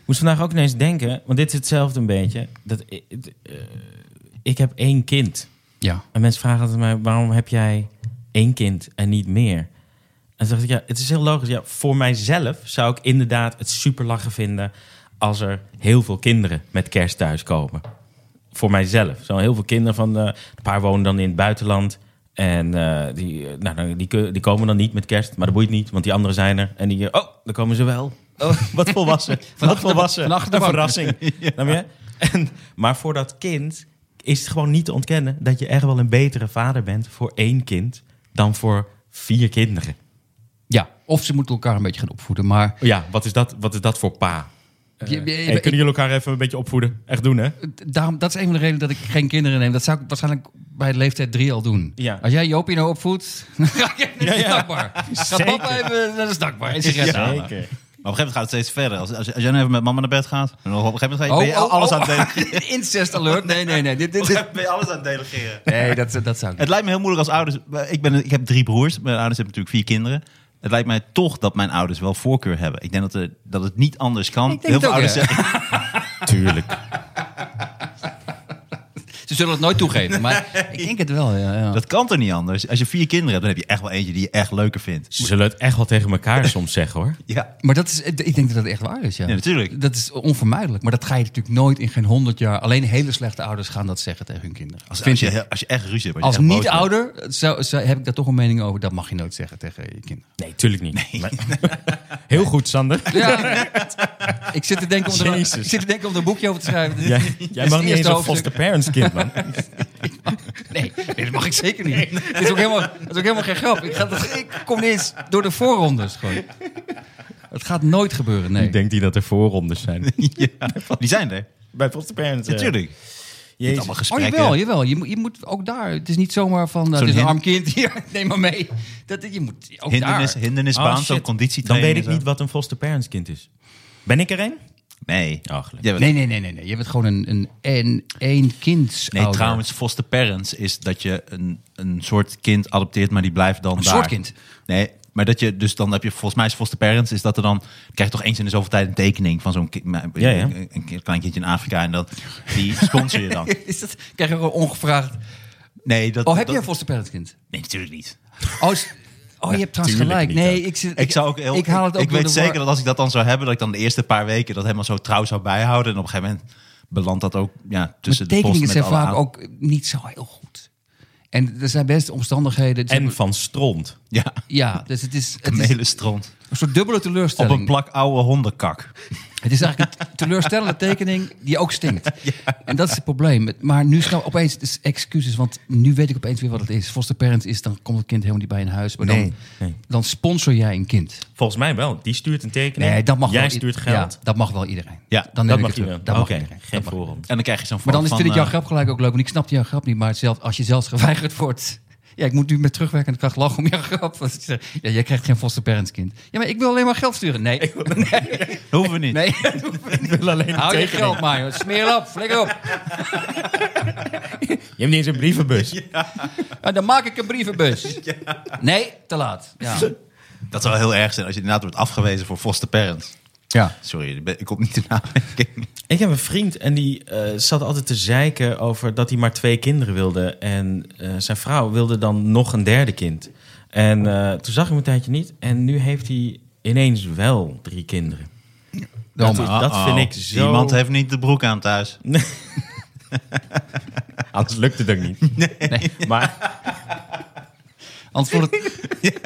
Speaker 4: Ik moest vandaag ook ineens denken, want dit is hetzelfde een beetje. Dat, ik- het, eh, ik heb één kind.
Speaker 3: Ja.
Speaker 4: En mensen vragen altijd mij, waarom heb jij één kind en niet meer? En toen dacht ik, ja, het is heel logisch. Ja, voor mijzelf zou ik inderdaad het super lachen vinden... als er heel veel kinderen met kerst thuiskomen. Voor mijzelf. Zo heel veel kinderen van... eh, een paar wonen dan in het buitenland... En eh, die, eh, nou, dan- die, kun- die komen dan niet met kerst, maar dat boeit niet, want die anderen zijn er. En die, eh, oh, daar komen ze wel. Oh, wat volwassen. wat
Speaker 3: achter de-
Speaker 4: volwassen.
Speaker 3: van achter de
Speaker 4: een
Speaker 3: bank.
Speaker 4: verrassing. Snap je? En, maar voor dat kind is het gewoon niet te ontkennen dat je echt wel een betere vader bent voor één kind dan voor vier kinderen.
Speaker 3: Ja, of ze moeten elkaar een beetje gaan opvoeden. Maar
Speaker 4: Ja, wat is dat, wat is dat voor pa?
Speaker 3: Je- je-
Speaker 4: Hey,
Speaker 3: je-
Speaker 4: kunnen jullie elkaar even een beetje opvoeden? Echt doen, hè?
Speaker 3: daarom, dat is een van de redenen dat ik geen kinderen neem. Dat zou ik waarschijnlijk bij de leeftijd drie al doen.
Speaker 4: Ja.
Speaker 3: Als jij Jopie nou opvoedt, dan ga ik even naar de
Speaker 4: Ja, ja.
Speaker 3: snackbar. Ga
Speaker 4: Zeker.
Speaker 3: papa even naar de snackbar. En sigaret halen.
Speaker 2: Maar op een gegeven moment gaat het steeds verder. Als, als, als jij nou even met mama naar bed gaat, en dan op een gegeven moment ga je, ben je alles aan het delegeren.
Speaker 3: Oh, Incest alert. Nee, nee, nee. Dit, dit, dit-
Speaker 2: Ben je alles aan het delegeren.
Speaker 3: Nee, dat, dat zou ik niet.
Speaker 2: Het lijkt me heel moeilijk als ouders. Ik, ben, ik heb drie broers. Mijn ouders hebben natuurlijk vier kinderen. Het lijkt mij toch dat mijn ouders wel voorkeur hebben. Ik denk dat, er, dat het niet anders kan.
Speaker 3: Ik denk het ook, ja.
Speaker 2: zeggen... Tuurlijk.
Speaker 3: Ze zullen het nooit toegeven, maar ik denk het wel. Ja, ja.
Speaker 2: Dat kan toch niet anders? Als je vier kinderen hebt, dan heb je echt wel eentje die je echt leuker vindt.
Speaker 4: Ze zullen het echt wel tegen elkaar soms zeggen hoor.
Speaker 2: Ja.
Speaker 3: Maar dat is, ik denk dat dat echt waar is, ja.
Speaker 2: Ja, natuurlijk.
Speaker 3: Dat is onvermijdelijk. Maar dat ga je natuurlijk nooit in geen honderd jaar. Alleen hele slechte ouders gaan dat zeggen tegen hun kinderen.
Speaker 2: Als,
Speaker 3: Vind
Speaker 2: als,
Speaker 3: ik.
Speaker 2: je, als je echt ruzie hebt.
Speaker 3: Als
Speaker 2: je echt boos bent.
Speaker 3: niet-ouder zou, zou- heb ik daar toch een mening over. Dat mag je nooit zeggen tegen je kinderen.
Speaker 4: Nee, tuurlijk niet. Maar- Heel goed, Sander.
Speaker 3: ik zit te denken om er, ik
Speaker 4: Jezus.
Speaker 3: zit te denken om er een boekje over te schrijven.
Speaker 4: Jij,
Speaker 3: Dit is
Speaker 4: jij
Speaker 3: het
Speaker 4: mag niet eens
Speaker 3: eerste
Speaker 4: een
Speaker 3: hoofdstuk.
Speaker 4: foster parents kind, man.
Speaker 3: Nee, nee, dat mag ik zeker niet. Het is ook helemaal, het is ook helemaal geen grap. Ik, ga dat, ik kom niet eens door de voorrondes gewoon. Het gaat nooit gebeuren, nee.
Speaker 4: Ik denk die dat er voorrondes zijn.
Speaker 2: Ja, die zijn er.
Speaker 4: Bij foster parents.
Speaker 2: Natuurlijk.
Speaker 4: Jezus.
Speaker 2: eh, Allemaal
Speaker 3: Oh,
Speaker 2: gesprekken.
Speaker 3: jawel, jawel. Je, moet- je moet ook daar... Het is niet zomaar van... eh,
Speaker 2: Zo'n
Speaker 3: het is een
Speaker 2: hin-
Speaker 3: arm kind hier, neem maar mee. Dat, je moet ook
Speaker 2: Hindernis,
Speaker 3: Oh, daar...
Speaker 2: hindernisbaan,
Speaker 4: Oh,
Speaker 2: zo'n
Speaker 4: shit. Dan
Speaker 2: conditietraining.
Speaker 4: weet ik
Speaker 2: en
Speaker 4: niet
Speaker 2: zo.
Speaker 4: wat een foster parents kind is. Ben ik er een?
Speaker 2: Nee.
Speaker 4: Oh, gelukkig.
Speaker 2: Jij bent-
Speaker 3: Nee, nee, nee, nee, nee. Je bent gewoon een, een, een, een kind.
Speaker 2: Nee, trouwens, foster parents is dat je een, een soort kind adopteert, maar die blijft dan
Speaker 3: Een
Speaker 2: daar.
Speaker 3: soort kind?
Speaker 2: Nee, maar dat je, dus dan heb je, volgens mij is foster parents, is dat er dan, krijg je toch eens in de zoveel tijd een tekening van zo'n kind,
Speaker 4: Ja, ja.
Speaker 2: Een, een klein kindje in Afrika en dat, die sponsor je dan.
Speaker 3: Is dat, krijg je gewoon ongevraagd...
Speaker 2: Nee, dat,
Speaker 3: Oh, heb
Speaker 2: dat-
Speaker 3: je een foster parent kind?
Speaker 2: Nee, natuurlijk niet.
Speaker 3: Oh, is- oh je hebt trouwens
Speaker 4: tuurlijk
Speaker 3: gelijk.
Speaker 4: niet
Speaker 3: Nee,
Speaker 4: ook.
Speaker 3: ik, zit-
Speaker 2: Ik, zou ook heel,
Speaker 3: ik haal het ook
Speaker 2: ik
Speaker 3: door
Speaker 2: weet
Speaker 3: de war-
Speaker 2: zeker dat als ik dat dan zou hebben, dat ik dan de eerste paar weken dat helemaal zo trouw zou bijhouden. En op een gegeven moment belandt dat ook ja, tussen
Speaker 3: Maar
Speaker 2: de post
Speaker 3: tekeningen
Speaker 2: met
Speaker 3: zijn
Speaker 2: alle
Speaker 3: vaak
Speaker 2: aan-
Speaker 3: ook niet zo heel goed. En er zijn best omstandigheden... dus
Speaker 4: En van stront.
Speaker 2: Ja,
Speaker 3: Ja, dus het is, het is
Speaker 2: kamelenstront.
Speaker 3: een soort dubbele
Speaker 2: Op
Speaker 3: teleurstelling.
Speaker 2: een plak oude hondenkak.
Speaker 3: Het is eigenlijk een teleurstellende tekening die ook stinkt. En dat is het probleem. Maar nu snap opeens het is excuses, want nu weet ik opeens weer wat het is. Foster parent is, dan komt het kind helemaal niet bij een huis. Maar dan,
Speaker 4: Nee, nee.
Speaker 3: dan sponsor jij een kind.
Speaker 4: Volgens mij wel. Die stuurt een tekening.
Speaker 3: Nee, dat mag
Speaker 4: Jij
Speaker 3: wel i-
Speaker 4: stuurt
Speaker 3: Ja,
Speaker 4: geld.
Speaker 3: dat mag wel iedereen.
Speaker 2: Ja,
Speaker 3: dan neem
Speaker 4: dat
Speaker 3: ik
Speaker 4: mag
Speaker 3: het terug.
Speaker 4: iedereen.
Speaker 3: Dat mag
Speaker 4: Oké,
Speaker 3: iedereen.
Speaker 4: geen voorhand.
Speaker 2: En dan krijg je zo'n
Speaker 3: Maar dan is
Speaker 2: van,
Speaker 3: natuurlijk
Speaker 2: eh,
Speaker 3: jouw grap gelijk ook leuk, want ik snapte jouw grap niet. Maar zelf, als je zelfs geweigerd wordt... Ja, ik moet nu met terugwerkende kracht lachen om jouw grap. Want ik zeg, Ja, jij krijgt geen foster parents kind. Ja, maar ik wil alleen maar geld sturen. Nee,
Speaker 2: Dat hoeven we niet.
Speaker 3: nee.
Speaker 4: Ik wil alleen een
Speaker 3: hou je
Speaker 4: tekening.
Speaker 3: geld maar, joh. Smeer op, flikker op.
Speaker 4: Je hebt niet eens een brievenbus.
Speaker 3: Ja, Ah, dan maak ik een brievenbus. Nee, te laat. Ja.
Speaker 2: Dat zou heel erg zijn als je inderdaad wordt afgewezen voor foster parents.
Speaker 3: ja.
Speaker 2: Sorry, ik ben- ik kom niet in aanmerking.
Speaker 4: Ik heb een vriend en die eh, zat altijd te zeiken over dat hij maar twee kinderen wilde. En eh, zijn vrouw wilde dan nog een derde kind. En eh, toen zag ik hem een tijdje niet. En nu heeft hij ineens wel drie kinderen. Dat, is- dat
Speaker 2: Uh-oh.
Speaker 4: vind ik zo...
Speaker 2: Iemand heeft niet de broek aan thuis.
Speaker 4: Anders lukt het ook niet.
Speaker 3: Nee.
Speaker 4: Maar
Speaker 3: Anders wordt het,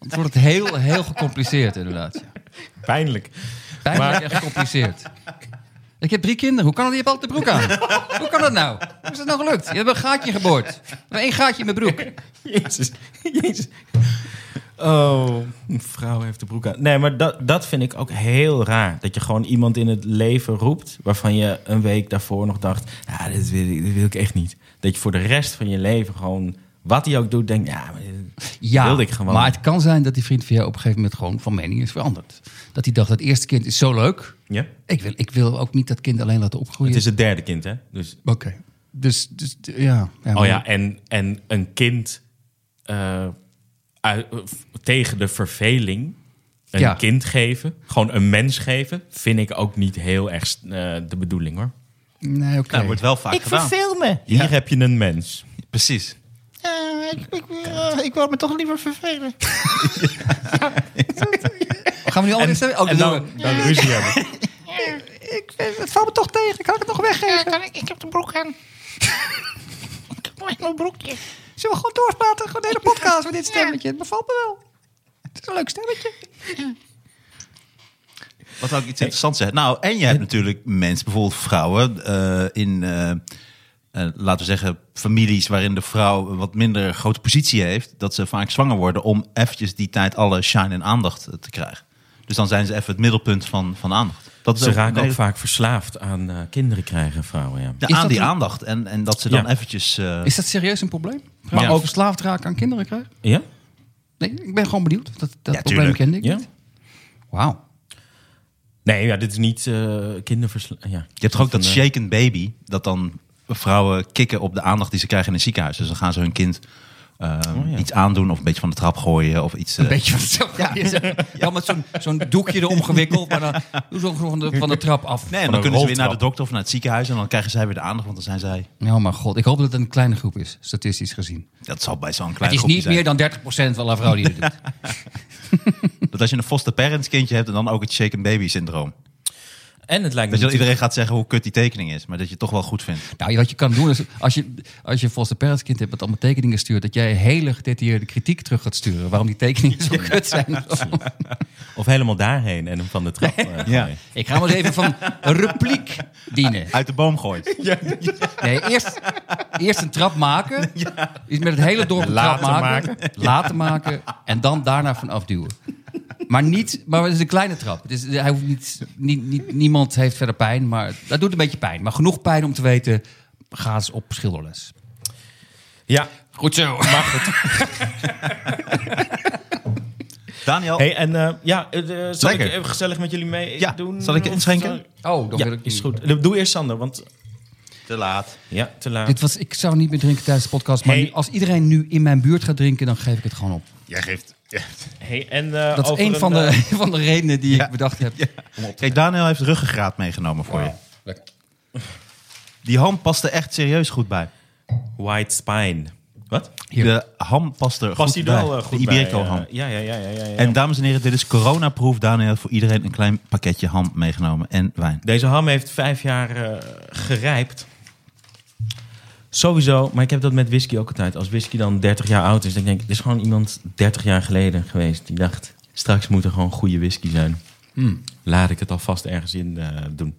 Speaker 3: anders wordt het heel, heel gecompliceerd, inderdaad. Ja.
Speaker 4: pijnlijk.
Speaker 3: Pijnlijk en gecompliceerd. Ik heb drie kinderen. Hoe kan dat? Je hebt altijd de broek aan. Hoe kan dat nou? Hoe is dat nou gelukt? Je hebt een gaatje geboord. Maar één gaatje in mijn broek.
Speaker 4: Jezus. Jezus. Oh, een vrouw heeft de broek aan. Nee, maar dat, dat vind ik ook heel raar. Dat je gewoon iemand in het leven roept... waarvan je een week daarvoor nog dacht... ja, dit wil, ik- dit wil ik echt niet. Dat je voor de rest van je leven gewoon... wat hij ook doet, denkt... ja, maar dit
Speaker 3: Ja,
Speaker 4: wilde ik gewoon.
Speaker 3: maar het kan zijn dat die vriend van jou op een gegeven moment gewoon van mening is veranderd. Dat hij dacht, dat eerste kind is zo leuk.
Speaker 4: ja?
Speaker 3: Ik wil, ik wil ook niet dat kind alleen laten opgroeien.
Speaker 4: Het is het derde kind, hè? Dus,
Speaker 3: Oké. Dus, dus ja.
Speaker 4: oh ja, en, en een kind eh, uit- tegen de verveling... een
Speaker 3: Ja.
Speaker 4: kind geven, gewoon een mens geven... vind ik ook niet heel erg eh, de bedoeling, hoor.
Speaker 3: Nee, oké.
Speaker 2: Dat wordt wel vaak gedaan.
Speaker 4: verveel me. Hier heb je een mens.
Speaker 2: Precies.
Speaker 6: eh,
Speaker 3: Gaan we nu al dit stemmen? Oh,
Speaker 4: En
Speaker 3: dat doen
Speaker 4: dan,
Speaker 3: we.
Speaker 4: dan ruzie hebben.
Speaker 3: Het valt me toch tegen. Kan ik het nog weggeven?
Speaker 6: Ja, kan ik, ik heb de broek aan. ik heb nog mijn broekje.
Speaker 3: Zullen we gewoon doorpraten? Gewoon de hele podcast met dit stemmetje. Het bevalt me wel. Het is een leuk stemmetje.
Speaker 2: Wat zou ik iets interessants zeggen? Nou, en je hebt natuurlijk mensen, bijvoorbeeld vrouwen, eh, in, eh, eh, laten we zeggen, families waarin de vrouw een wat minder grote positie heeft, dat ze vaak zwanger worden om eventjes die tijd alle shine en aandacht eh, te krijgen. Dus dan zijn ze even het middelpunt van, van aandacht. Dat is
Speaker 4: Ze
Speaker 2: ook-
Speaker 4: raken
Speaker 2: nee,
Speaker 4: ook vaak verslaafd aan eh, kinderen krijgen, vrouwen. Ja.
Speaker 2: ja,
Speaker 3: Is
Speaker 2: aan
Speaker 3: dat
Speaker 2: die
Speaker 3: een-
Speaker 2: aandacht. En, en dat ze dan
Speaker 4: Ja.
Speaker 2: eventjes. eh,
Speaker 3: Is dat serieus een probleem? Maar
Speaker 2: Ja.
Speaker 3: ook verslaafd raken aan kinderen krijgen?
Speaker 4: ja?
Speaker 3: Nee, ik ben gewoon benieuwd. Dat, dat
Speaker 2: Ja,
Speaker 3: probleem
Speaker 2: tuurlijk.
Speaker 3: kende ik
Speaker 4: Ja?
Speaker 3: niet. Wauw.
Speaker 4: Nee, ja, dit is niet eh kinderversla- Ja.
Speaker 2: Je hebt toch ook dat
Speaker 4: Een, eh,
Speaker 2: shaken baby, dat dan vrouwen kicken op de aandacht die ze krijgen in het ziekenhuis. Dus dan gaan ze hun kind eh,
Speaker 4: Oh, ja.
Speaker 2: iets aandoen of een beetje van de trap gooien of iets.
Speaker 3: Een
Speaker 2: eh,
Speaker 3: beetje van hetzelfde. Dan met zo'n zo'n doekje erom gewikkeld, maar dan doe ze ook van de, van de trap af.
Speaker 2: Nee, en
Speaker 4: Van
Speaker 2: dan
Speaker 4: een
Speaker 2: kunnen ze weer
Speaker 4: roltrap.
Speaker 2: naar de dokter of naar het ziekenhuis en dan krijgen zij weer de aandacht, want dan zijn zij.
Speaker 3: Oh mijn god, ik hoop dat het een kleine groep is, statistisch gezien.
Speaker 2: Dat zal bij zo'n
Speaker 3: Het
Speaker 2: klein
Speaker 3: is
Speaker 2: groepje
Speaker 3: niet
Speaker 2: zijn.
Speaker 3: meer dan 30% van alle vrouwen die het doet.
Speaker 2: Dat als je een foster parents kindje hebt en dan ook het shaken baby syndroom.
Speaker 4: En het lijkt me
Speaker 2: Dat je
Speaker 4: natuurlijk-
Speaker 2: dan iedereen gaat zeggen hoe kut die tekening is, maar dat je het toch wel goed vindt.
Speaker 3: Nou, wat je kan doen is, als je, als je volgens de parentskind hebt dat allemaal tekeningen stuurt, dat jij hele gedetailleerde kritiek terug gaat sturen waarom die tekeningen zo kut zijn.
Speaker 4: Of helemaal daarheen en hem van de trap. eh,
Speaker 2: Ja.
Speaker 4: gooien.
Speaker 3: Ik ga maar eens even van repliek dienen.
Speaker 2: Uit de boom gooit.
Speaker 3: Nee, eerst, eerst een trap maken. Iets met het hele dorp een trap
Speaker 4: Laten
Speaker 3: maken. Laten maken. En dan daarna van afduwen. Maar, niet, maar het is een kleine trap. Het is, hij hoeft niet, niet, niet, niemand heeft verder pijn. Maar dat doet een beetje pijn. Maar genoeg pijn om te weten, ga eens op schilderles.
Speaker 4: ja.
Speaker 3: Goed zo.
Speaker 2: Daniel,
Speaker 4: Hey, en eh, ja, eh, eh, zal
Speaker 2: Lekker.
Speaker 4: ik even gezellig met jullie mee
Speaker 2: Ja,
Speaker 4: doen?
Speaker 2: zal ik
Speaker 4: Of
Speaker 2: inschenken?
Speaker 4: zal ik-
Speaker 3: Oh, dan wil
Speaker 4: Ja,
Speaker 3: ik
Speaker 4: is
Speaker 3: niet.
Speaker 4: goed. Doe eerst Sander, want
Speaker 2: te laat.
Speaker 4: ja, te laat.
Speaker 3: Dit was, ik zou niet meer drinken tijdens de podcast. Maar
Speaker 4: Hey.
Speaker 3: nu- als iedereen nu in mijn buurt gaat drinken, dan geef ik het gewoon op.
Speaker 5: Jij geeft.
Speaker 4: Hey, en, eh,
Speaker 3: Dat is
Speaker 4: over
Speaker 3: een van
Speaker 4: eh,
Speaker 3: de, van de redenen die ik bedacht heb.
Speaker 2: Kijk, Daniel heeft ruggengraat meegenomen voor je. Die ham past er echt serieus goed bij.
Speaker 4: White Spine. Wat?
Speaker 3: Hier.
Speaker 2: De ham past er
Speaker 4: Past
Speaker 2: goed
Speaker 4: die
Speaker 2: bij.
Speaker 4: wel eh, goed
Speaker 2: de Iberico
Speaker 4: bij, eh,
Speaker 2: ham.
Speaker 4: ja, ja, ja, ja, ja, ja.
Speaker 2: En dames en heren, dit is coronaproof. Daniel heeft voor iedereen een klein pakketje ham meegenomen en wijn.
Speaker 4: Deze ham heeft vijf jaar eh, gerijpt. Sowieso, maar ik heb dat met whisky ook altijd. Als whisky dan 30 jaar oud is, dan denk ik... Dit is gewoon iemand 30 jaar geleden geweest die dacht... Straks moet er gewoon goede whisky zijn.
Speaker 3: Hmm.
Speaker 4: Laat ik het alvast ergens in eh, doen.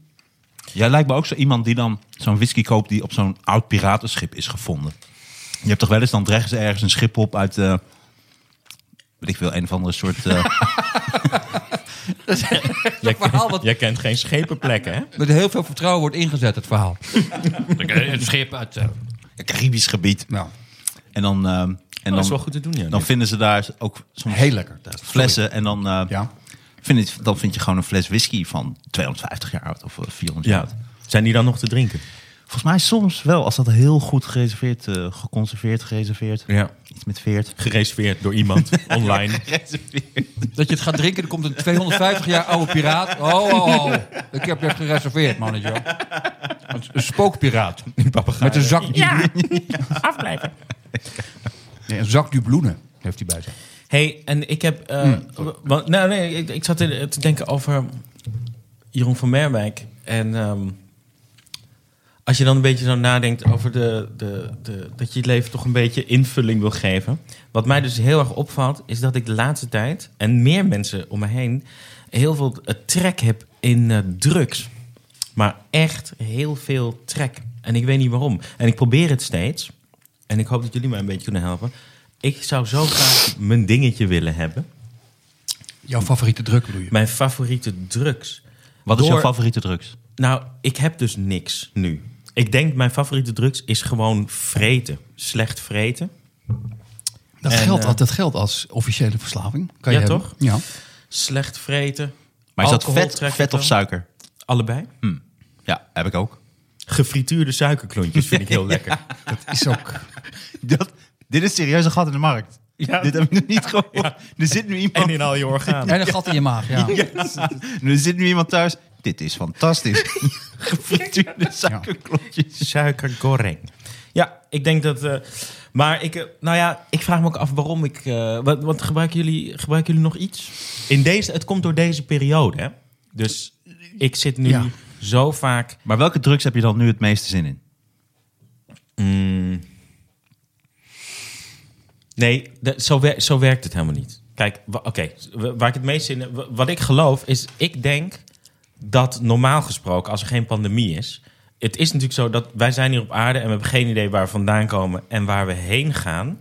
Speaker 2: Jij lijkt me ook zo iemand die dan zo'n whisky koopt die op zo'n oud piratenschip is gevonden. Je hebt toch wel eens, dan dreggen ze ergens een schip op uit, eh weet ik veel, een of andere soort... eh,
Speaker 4: Jij,
Speaker 3: verhaal wat-
Speaker 4: jij kent geen schepenplekken, hè?
Speaker 3: Met heel veel vertrouwen wordt ingezet, het verhaal. het schip uit... eh,
Speaker 2: Caribisch gebied.
Speaker 3: Nou,
Speaker 2: En dan, ehm, en
Speaker 4: Oh, dat
Speaker 2: dan,
Speaker 4: is wel goed te doen, ja.
Speaker 2: dan vinden ze daar ook soms
Speaker 3: heel lekker.
Speaker 2: flessen. En dan, eh,
Speaker 3: Ja.
Speaker 2: vind je, dan vind je gewoon een fles whisky van 250 jaar oud of eh, 400 jaar
Speaker 4: Ja.
Speaker 2: oud.
Speaker 4: Zijn die dan nog te drinken?
Speaker 2: Volgens mij soms wel, als dat heel goed gereserveerd, eh, geconserveerd, gereserveerd.
Speaker 4: Ja.
Speaker 2: Iets met veert.
Speaker 4: Gereserveerd door iemand online.
Speaker 3: Dat je het gaat drinken, dan komt een 250 jaar oude piraat. Oh, oh, oh. ik heb je gereserveerd, mannetje. Een spookpiraat. Met een zak, du-
Speaker 6: Ja, afblijven.
Speaker 3: nee, een zak dubloenen heeft hij bij zich.
Speaker 4: hey, en ik heb... eh, wa- nou, nee, ik, ik zat te te denken over Jeroen van Merwijk. En ehm, als je dan een beetje zo nadenkt over de, de, de, dat je het leven toch een beetje invulling wil geven. Wat mij dus heel erg opvalt, is dat ik de laatste tijd... en meer mensen om me heen heel veel eh, trek heb in eh, drugs. Maar echt heel veel trek. En ik weet niet waarom. En ik probeer het steeds. En ik hoop dat jullie mij een beetje kunnen helpen. Ik zou zo graag mijn dingetje willen hebben.
Speaker 3: Jouw favoriete druk bedoel je?
Speaker 4: Mijn favoriete drugs.
Speaker 2: Wat is
Speaker 4: Door-
Speaker 2: jouw favoriete drugs?
Speaker 4: Nou, ik heb dus niks nu. Ik denk mijn favoriete drugs is gewoon vreten. Slecht vreten.
Speaker 3: Dat,
Speaker 4: En,
Speaker 3: geldt,
Speaker 4: eh,
Speaker 3: al- dat geldt als officiële verslaving. Kan
Speaker 4: Ja,
Speaker 3: je hebben.
Speaker 4: toch?
Speaker 3: Ja.
Speaker 4: Slecht vreten.
Speaker 2: Maar is dat
Speaker 4: Alcohol
Speaker 2: vet,
Speaker 4: trek ik
Speaker 2: vet of
Speaker 4: wel.
Speaker 2: suiker?
Speaker 4: Allebei.
Speaker 2: Ja, heb ik ook.
Speaker 4: Gefrituurde suikerklontjes vind ik heel lekker.
Speaker 3: Dat is ook...
Speaker 2: Dat, dit is serieus een gat in de markt. Dit heb ik nog niet gehoord. Er zit nu iemand...
Speaker 4: En in al je organen.
Speaker 3: En een gat in je maag, ja.
Speaker 2: Er zit nu iemand thuis. Dit is fantastisch. Gefrituurde suikerklotjes.
Speaker 4: Suikergoreng. Ja, ik denk dat. eh, maar ik, eh, nou ja, ik vraag me ook af waarom ik. eh, wat, wat gebruiken jullie? Gebruiken jullie nog iets? In deze, het komt door deze periode. Hè? Dus ik zit nu
Speaker 3: Ja.
Speaker 4: zo vaak.
Speaker 2: Maar welke drugs heb je dan nu het meeste zin in?
Speaker 4: Mm. nee, dat- zo, wer- zo werkt het helemaal niet. Kijk, wa- oké, wa- waar ik het meest in. wa- Wat ik geloof is, ik denk dat normaal gesproken, als er geen pandemie is. Het is natuurlijk zo dat wij zijn hier op aarde en we hebben geen idee waar we vandaan komen en waar we heen gaan.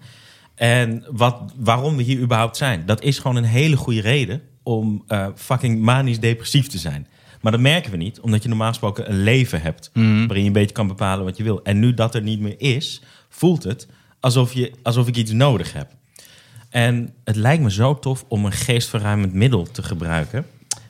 Speaker 4: En wat, waarom we hier überhaupt zijn. Dat is gewoon een hele goede reden om eh, fucking manisch depressief te zijn. Maar dat merken we niet, omdat je normaal gesproken een leven hebt. waarin je een beetje kan bepalen wat je wil. En nu dat er niet meer is, voelt het alsof, je, alsof ik iets nodig heb. En het lijkt me zo tof om een geestverruimend middel te gebruiken.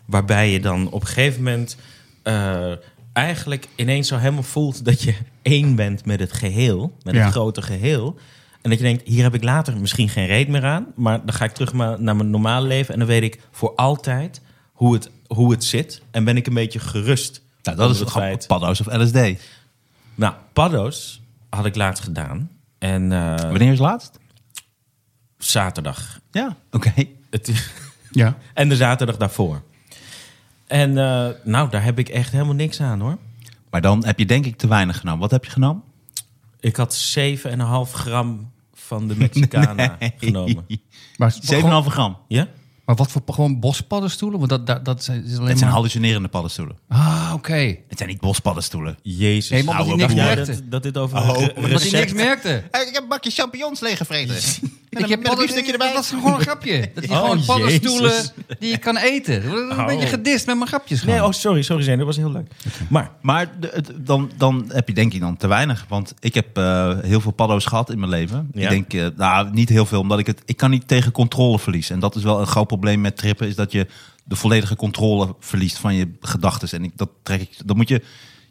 Speaker 4: Waarbij je dan op een gegeven moment eh, eigenlijk ineens zo helemaal voelt dat je één bent met het geheel, met
Speaker 3: Ja.
Speaker 4: het grote geheel. En dat je denkt, hier heb ik later misschien geen reet meer aan. Maar dan ga ik terug maar naar mijn normale leven. En dan weet ik voor altijd hoe het, hoe het zit. En ben ik een beetje gerust.
Speaker 2: Nou, dat
Speaker 4: onder
Speaker 2: is het gewoon
Speaker 4: feit.
Speaker 2: paddo's of LSD.
Speaker 4: Nou, paddo's had ik laatst gedaan. En eh,
Speaker 2: Wanneer is laatst?
Speaker 4: zaterdag.
Speaker 2: Ja, oké.
Speaker 4: Het is-
Speaker 3: Ja.
Speaker 4: en de zaterdag daarvoor. En eh, nou, daar heb ik echt helemaal niks aan hoor.
Speaker 2: Maar dan heb je denk ik te weinig genomen. Wat heb je genomen?
Speaker 4: Ik had 7,5 gram van de Mexicana genomen.
Speaker 3: Maar,
Speaker 2: 7,5 gram.
Speaker 4: Ja?
Speaker 3: maar wat voor gewoon bospaddenstoelen? Want dat, dat, dat zijn, is alleen
Speaker 2: Het zijn
Speaker 3: maar...
Speaker 2: hallucinerende paddenstoelen.
Speaker 3: Ah, oké.
Speaker 2: Het zijn niet bospaddenstoelen.
Speaker 4: Jezus. Nou,
Speaker 3: Nee, maar omdat
Speaker 4: oude
Speaker 3: hij niks
Speaker 4: boer.
Speaker 3: merkte.
Speaker 4: dat, dat dit over
Speaker 2: Oh,
Speaker 4: een re-
Speaker 2: omdat
Speaker 3: Omdat hij niks
Speaker 4: recept...
Speaker 3: merkte.
Speaker 2: ik heb een bakje champignons leeggevreten.
Speaker 3: Ik heb padden- Dat is gewoon een grapje. Dat je
Speaker 4: Oh,
Speaker 3: gewoon paddenstoelen
Speaker 4: Jezus.
Speaker 3: die je kan eten. Dat is Een
Speaker 4: Oh.
Speaker 3: beetje gedist met mijn grapjes gewoon.
Speaker 4: Nee, oh sorry, sorry Zeen, dat was heel leuk. Maar
Speaker 2: Maar de- het- dan, dan heb je denk ik dan te weinig. Want ik heb eh, heel veel paddo's gehad in mijn leven.
Speaker 4: Ja.
Speaker 2: Ik denk, eh, nou niet heel veel, omdat ik het... Ik kan niet tegen controle verliezen. En dat is wel een groot probleem met trippen. Is dat je de volledige controle verliest van je gedachten. En ik, dat trek ik... Dat moet je...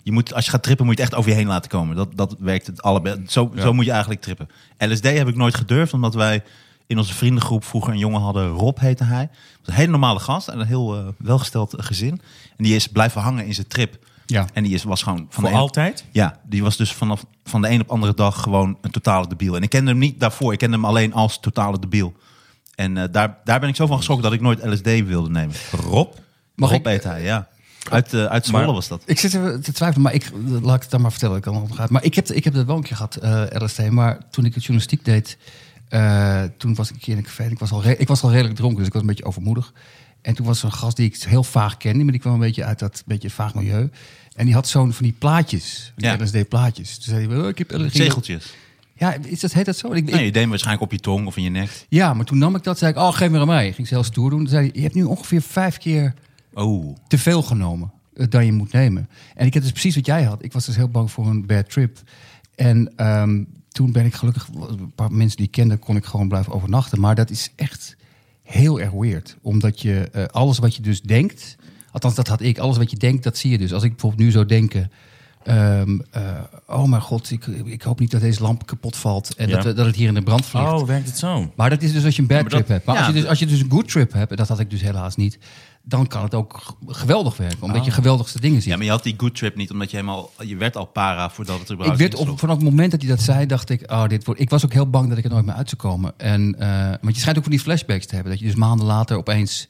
Speaker 2: Je moet, als je gaat trippen, moet je het echt over je heen laten komen. Dat, dat werkt het allebei. Zo, zo moet je eigenlijk trippen. LSD heb ik nooit gedurfd, omdat wij in onze vriendengroep vroeger een jongen hadden. Rob heette hij. Was een hele normale gast en een heel eh, welgesteld gezin. En die is blijven hangen in zijn trip.
Speaker 3: Ja.
Speaker 2: En die is, was gewoon van
Speaker 4: voor
Speaker 2: de een-
Speaker 4: altijd?
Speaker 2: Ja, die was dus vanaf van de een op andere dag gewoon een totale debiel. En ik kende hem niet daarvoor. Ik kende hem alleen als totale debiel. En eh, daar, daar ben ik zo van geschrokken dat ik nooit LSD wilde nemen. Rob?
Speaker 3: Mag
Speaker 2: Rob
Speaker 3: ik-
Speaker 2: heet hij, ja. Uit, eh uit Zwolle
Speaker 4: Maar-
Speaker 2: was dat.
Speaker 3: Ik zit even te twijfelen, maar ik, laat ik het dan maar vertellen. Ik kan het omgaan. Maar ik heb, ik heb dat wel een keer gehad, eh, LSD. Maar toen ik het journalistiek deed, eh, toen was ik een keer in een café. En ik, was al re- ik was al redelijk dronken, dus ik was een beetje overmoedig. En toen was er een gast die ik heel vaag kende, maar die kwam een beetje uit dat beetje vaag milieu. En die had zo'n van die plaatjes, van
Speaker 2: Ja.
Speaker 3: die LSD-plaatjes. Toen zei hij, oh, ik heb LSD.
Speaker 2: Zegeltjes.
Speaker 3: Ja, is dat, heet dat zo? Ik, ik-
Speaker 2: Nee, je deed hem waarschijnlijk op je tong of in je nek.
Speaker 3: ja, maar toen nam ik dat, zei ik, oh, geef maar aan mij. Ging ze heel stoer doen. Toen zei hij, je hebt nu ongeveer vijf keer
Speaker 2: Oh.
Speaker 3: te veel genomen eh, dan je moet nemen. En ik heb dus precies wat jij had. Ik was dus heel bang voor een bad trip. En ehm, toen ben ik gelukkig, een paar mensen die ik kende, kon ik gewoon blijven overnachten. Maar dat is echt heel erg weird. Omdat je eh, alles wat je dus denkt, althans dat had ik, alles wat je denkt, dat zie je dus. Als ik bijvoorbeeld nu zou denken, ehm, eh, oh mijn god, ik, ik hoop niet dat deze lamp kapot valt en
Speaker 4: Ja.
Speaker 3: dat, we- dat het hier in de brand vliegt.
Speaker 4: Oh, werkt het zo?
Speaker 3: Maar dat is dus als je een bad
Speaker 2: maar dat-
Speaker 3: trip hebt. Maar als,
Speaker 2: ja,
Speaker 3: je dus,
Speaker 2: d-
Speaker 3: als je dus een good trip hebt, en dat had ik dus helaas niet, dan kan het ook g- geweldig werken. Omdat je geweldigste dingen ziet.
Speaker 2: Ja, maar je had die good trip niet, omdat je helemaal... Je werd al para voordat het
Speaker 3: ik
Speaker 2: überhaupt
Speaker 3: werd op,
Speaker 2: insloeg.
Speaker 3: vanaf het moment dat hij dat zei, dacht ik, oh, dit wordt, ik was ook heel bang dat ik er nooit meer uit zou komen. En, eh, want je schijnt ook van die flashbacks te hebben. Dat je dus maanden later opeens,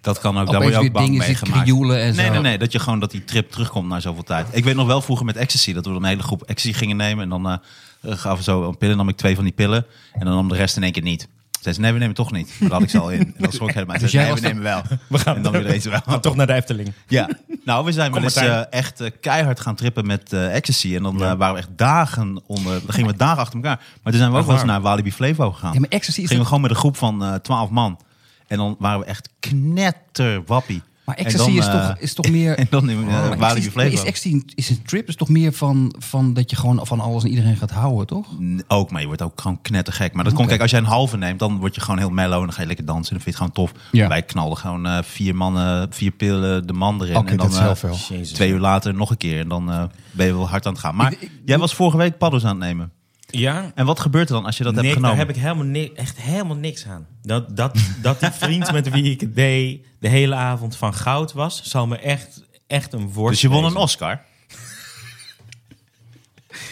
Speaker 2: Dat kan ook. Daar
Speaker 3: opeens
Speaker 2: word je ook
Speaker 3: weer
Speaker 2: bang
Speaker 3: dingen
Speaker 2: mee
Speaker 3: zit
Speaker 2: gemaakt.
Speaker 3: krioelen en
Speaker 2: Nee,
Speaker 3: zo.
Speaker 2: nee, nee. Dat je gewoon dat die trip terugkomt na zoveel tijd. Ik weet nog wel vroeger met ecstasy dat we dan een hele groep ecstasy gingen nemen. En dan eh, eh, gaven ze zo een pillen. nam ik twee van die pillen. En dan nam de rest in één keer niet. Zei ze, nee, we nemen toch niet. Maar dat had ik ze al in. En dan schrok ik helemaal. Zei
Speaker 3: Dus
Speaker 2: ze,
Speaker 3: jij
Speaker 2: nee, we
Speaker 3: was
Speaker 2: nemen wel.
Speaker 4: We gaan
Speaker 2: en dan weer deze wel.
Speaker 4: toch naar de Efteling.
Speaker 2: Ja, nou, we zijn wel eens
Speaker 4: Martijn.
Speaker 2: eh, echt eh, keihard gaan trippen met eh, ecstasy. En dan eh, waren we echt dagen onder. Dan gingen we dagen achter elkaar. Maar toen zijn we ook
Speaker 4: Echt
Speaker 2: wel eens
Speaker 4: waar?
Speaker 2: naar Walibi Flevo gegaan.
Speaker 3: Ja, maar ecstasy is
Speaker 2: gingen we
Speaker 3: toch-
Speaker 2: gewoon met een groep van eh, twaalf man. En dan waren we echt knetterwappie.
Speaker 3: maar
Speaker 2: En
Speaker 3: ecstasy
Speaker 2: dan,
Speaker 3: is,
Speaker 2: eh,
Speaker 3: toch, is toch meer... Oh,
Speaker 2: En dan in
Speaker 3: Maar
Speaker 2: uh,
Speaker 3: ecstasy-
Speaker 2: Walibi Flevo.
Speaker 3: Is ecstasy een- is een trip is toch meer van, van dat je gewoon van alles en iedereen gaat houden, toch?
Speaker 2: N- Ook, maar je wordt ook gewoon knettergek. Maar dat komt, kijk, als jij een halve neemt, dan word je gewoon heel mellow. En dan ga je lekker dansen. En dan vind je het gewoon tof.
Speaker 3: Ja.
Speaker 2: Wij knalden gewoon eh, vier mannen, vier pillen de man erin.
Speaker 3: Oké,
Speaker 2: en dan,
Speaker 3: dat is heel
Speaker 2: eh,
Speaker 3: veel.
Speaker 4: Jezus.
Speaker 2: Twee uur later nog een keer. En dan eh, ben je wel hard aan het gaan. Maar jij was vorige week paddo's aan het nemen.
Speaker 4: Ja,
Speaker 2: En wat gebeurt er dan als je dat
Speaker 4: Nick,
Speaker 2: hebt
Speaker 4: daar
Speaker 2: genomen?
Speaker 4: heb ik helemaal ni- echt helemaal niks aan. Dat, dat, dat die vriend met wie ik het deed de hele avond van goud was, zal me echt, echt een woord
Speaker 2: Dus je won een
Speaker 4: wezen.
Speaker 2: Oscar.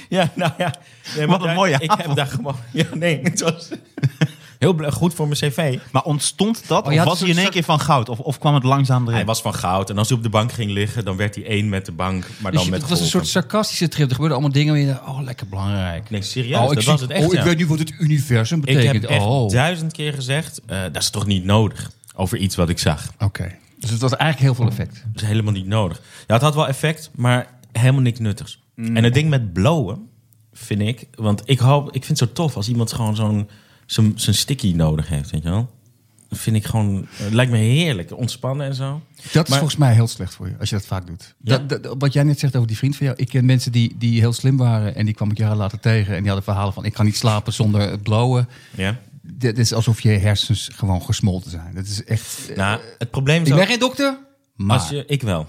Speaker 4: Ja, nou ja. Nee, maar
Speaker 2: Wat een
Speaker 4: daar-
Speaker 2: mooie
Speaker 4: Ik heb
Speaker 2: avond.
Speaker 4: daar gewoon... Ja, nee, het was heel bl- goed voor mijn cv.
Speaker 2: Maar ontstond dat?
Speaker 3: Oh, je
Speaker 2: of
Speaker 3: had
Speaker 2: was
Speaker 3: een
Speaker 2: hij in één
Speaker 3: soort-
Speaker 2: keer van goud? Of, of kwam het langzaam
Speaker 4: Hij
Speaker 2: erin?
Speaker 4: was van goud. En als hij op de bank ging liggen, dan werd hij één met de bank. Maar
Speaker 3: Dus
Speaker 4: dan
Speaker 3: je,
Speaker 4: met
Speaker 3: het was een soort
Speaker 4: golven.
Speaker 3: sarcastische trip. Er gebeurden allemaal dingen waar je dacht, oh, lekker belangrijk.
Speaker 4: Nee, serieus,
Speaker 3: ik
Speaker 4: dat
Speaker 3: zie-
Speaker 4: was het echt,
Speaker 3: Oh, ik
Speaker 4: ja.
Speaker 3: weet nu wat het universum
Speaker 4: Ik
Speaker 3: betekent.
Speaker 4: heb echt
Speaker 3: oh.
Speaker 4: duizend keer gezegd, eh, dat is toch niet nodig? Over iets wat ik zag.
Speaker 3: Oké. Dus het was eigenlijk heel veel effect.
Speaker 4: Dat is helemaal niet nodig. Ja, het had wel effect, maar helemaal niks nuttigs. En het ding met blowen, vind ik... Want ik, hoop, ik vind het zo tof als iemand gewoon zo'n zo'n zo'n sticky nodig heeft, weet je wel? Dat vind ik gewoon... Het lijkt me heerlijk. Ontspannen en zo.
Speaker 3: Dat is
Speaker 4: Maar-
Speaker 3: volgens mij heel slecht voor je, als je dat vaak doet.
Speaker 4: Ja.
Speaker 3: Dat, dat- wat jij net zegt over die vriend van jou. Ik ken mensen die, die heel slim waren en die kwam ik jaren later tegen. En die hadden verhalen van, ik kan niet slapen zonder het blowen.
Speaker 4: Ja.
Speaker 3: Dit is alsof je hersens gewoon gesmolten zijn. Dat is echt...
Speaker 4: Nou, het probleem is
Speaker 3: ik
Speaker 4: ook-
Speaker 3: ben geen dokter, maar
Speaker 4: Als je, ik wel.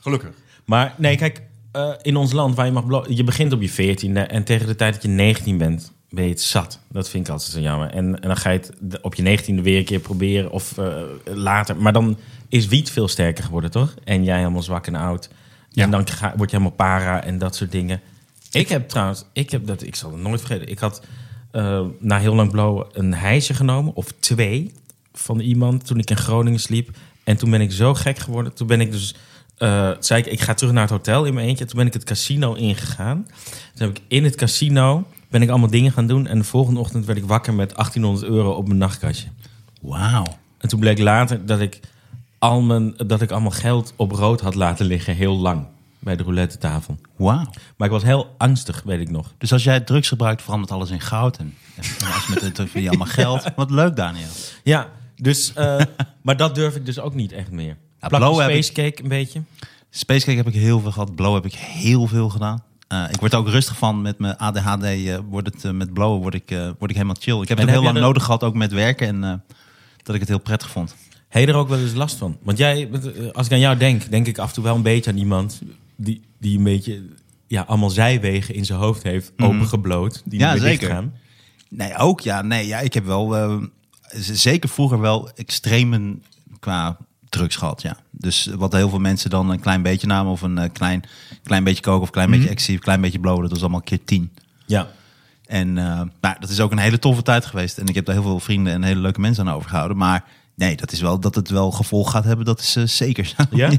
Speaker 3: gelukkig.
Speaker 4: Maar nee, kijk, eh, in ons land waar je mag blo- je begint op je 14e en tegen de tijd dat je 19 bent, ben je het zat. Dat vind ik altijd zo jammer. En, en dan ga je het d- op je negentiende weer een keer proberen of eh, later. Maar dan is wiet veel sterker geworden, toch? En jij helemaal zwak en oud.
Speaker 3: Ja.
Speaker 4: En dan ga, word je helemaal para en dat soort dingen. Ik heb trouwens, ik heb dat, ik zal het nooit vergeten. Ik had eh, na heel lang blauw een hijsje genomen, of twee, van iemand toen ik in Groningen sliep. En toen ben ik zo gek geworden. Toen ben ik dus, eh, zei ik, ik ga terug naar het hotel in mijn eentje. Toen ben ik het casino ingegaan. Toen heb ik in het casino, ben ik allemaal dingen gaan doen. En de volgende ochtend werd ik wakker met 1800 euro op mijn nachtkastje.
Speaker 2: Wauw.
Speaker 4: En toen bleek later dat ik, al mijn, dat ik allemaal geld op rood had laten liggen, heel lang. Bij de roulette tafel.
Speaker 2: Wauw.
Speaker 4: Maar ik was heel angstig, weet ik nog.
Speaker 2: Dus als jij drugs gebruikt, verandert alles in goud. En, en als met het vind je allemaal geld. Wat leuk, Daniel.
Speaker 4: Ja, dus, eh, maar dat durf ik dus ook niet echt meer.
Speaker 2: Ja,
Speaker 4: Plak
Speaker 2: blauw
Speaker 4: je
Speaker 2: heb ik-
Speaker 4: spacecake een beetje.
Speaker 2: Spacecake heb ik heel veel gehad. Blow heb ik heel veel gedaan. Eh, ik word er ook rustig van met mijn ADHD. eh, wordt het, eh, met blowen word ik, eh, word ik helemaal chill. Ik heb het
Speaker 4: heb
Speaker 2: ook heel
Speaker 4: jij
Speaker 2: lang
Speaker 4: dat-
Speaker 2: nodig gehad, ook met werken. En eh, dat ik het heel prettig vond.
Speaker 4: Heb je er ook wel eens last van? Want jij, bent, eh, als ik aan jou denk, denk ik af en toe wel een beetje aan iemand die, die een beetje ja, allemaal zijwegen in zijn hoofd heeft opengebloot. Die
Speaker 2: Ja,
Speaker 4: niet meer
Speaker 2: zeker.
Speaker 4: dichtgaan.
Speaker 2: Nee, ook ja. Nee, ja, ik heb wel eh, z- zeker vroeger wel extremen qua drugs gehad, ja. Dus wat heel veel mensen dan een klein beetje namen of een eh, klein, klein beetje koken of een klein beetje ecstasy of een klein beetje blowen, dat was allemaal keer tien.
Speaker 4: Ja.
Speaker 2: En eh, maar dat is ook een hele toffe tijd geweest en ik heb daar heel veel vrienden en hele leuke mensen aan overgehouden. Maar nee, dat is wel dat het wel gevolg gaat hebben, dat is eh, zeker. zo.
Speaker 4: Ja?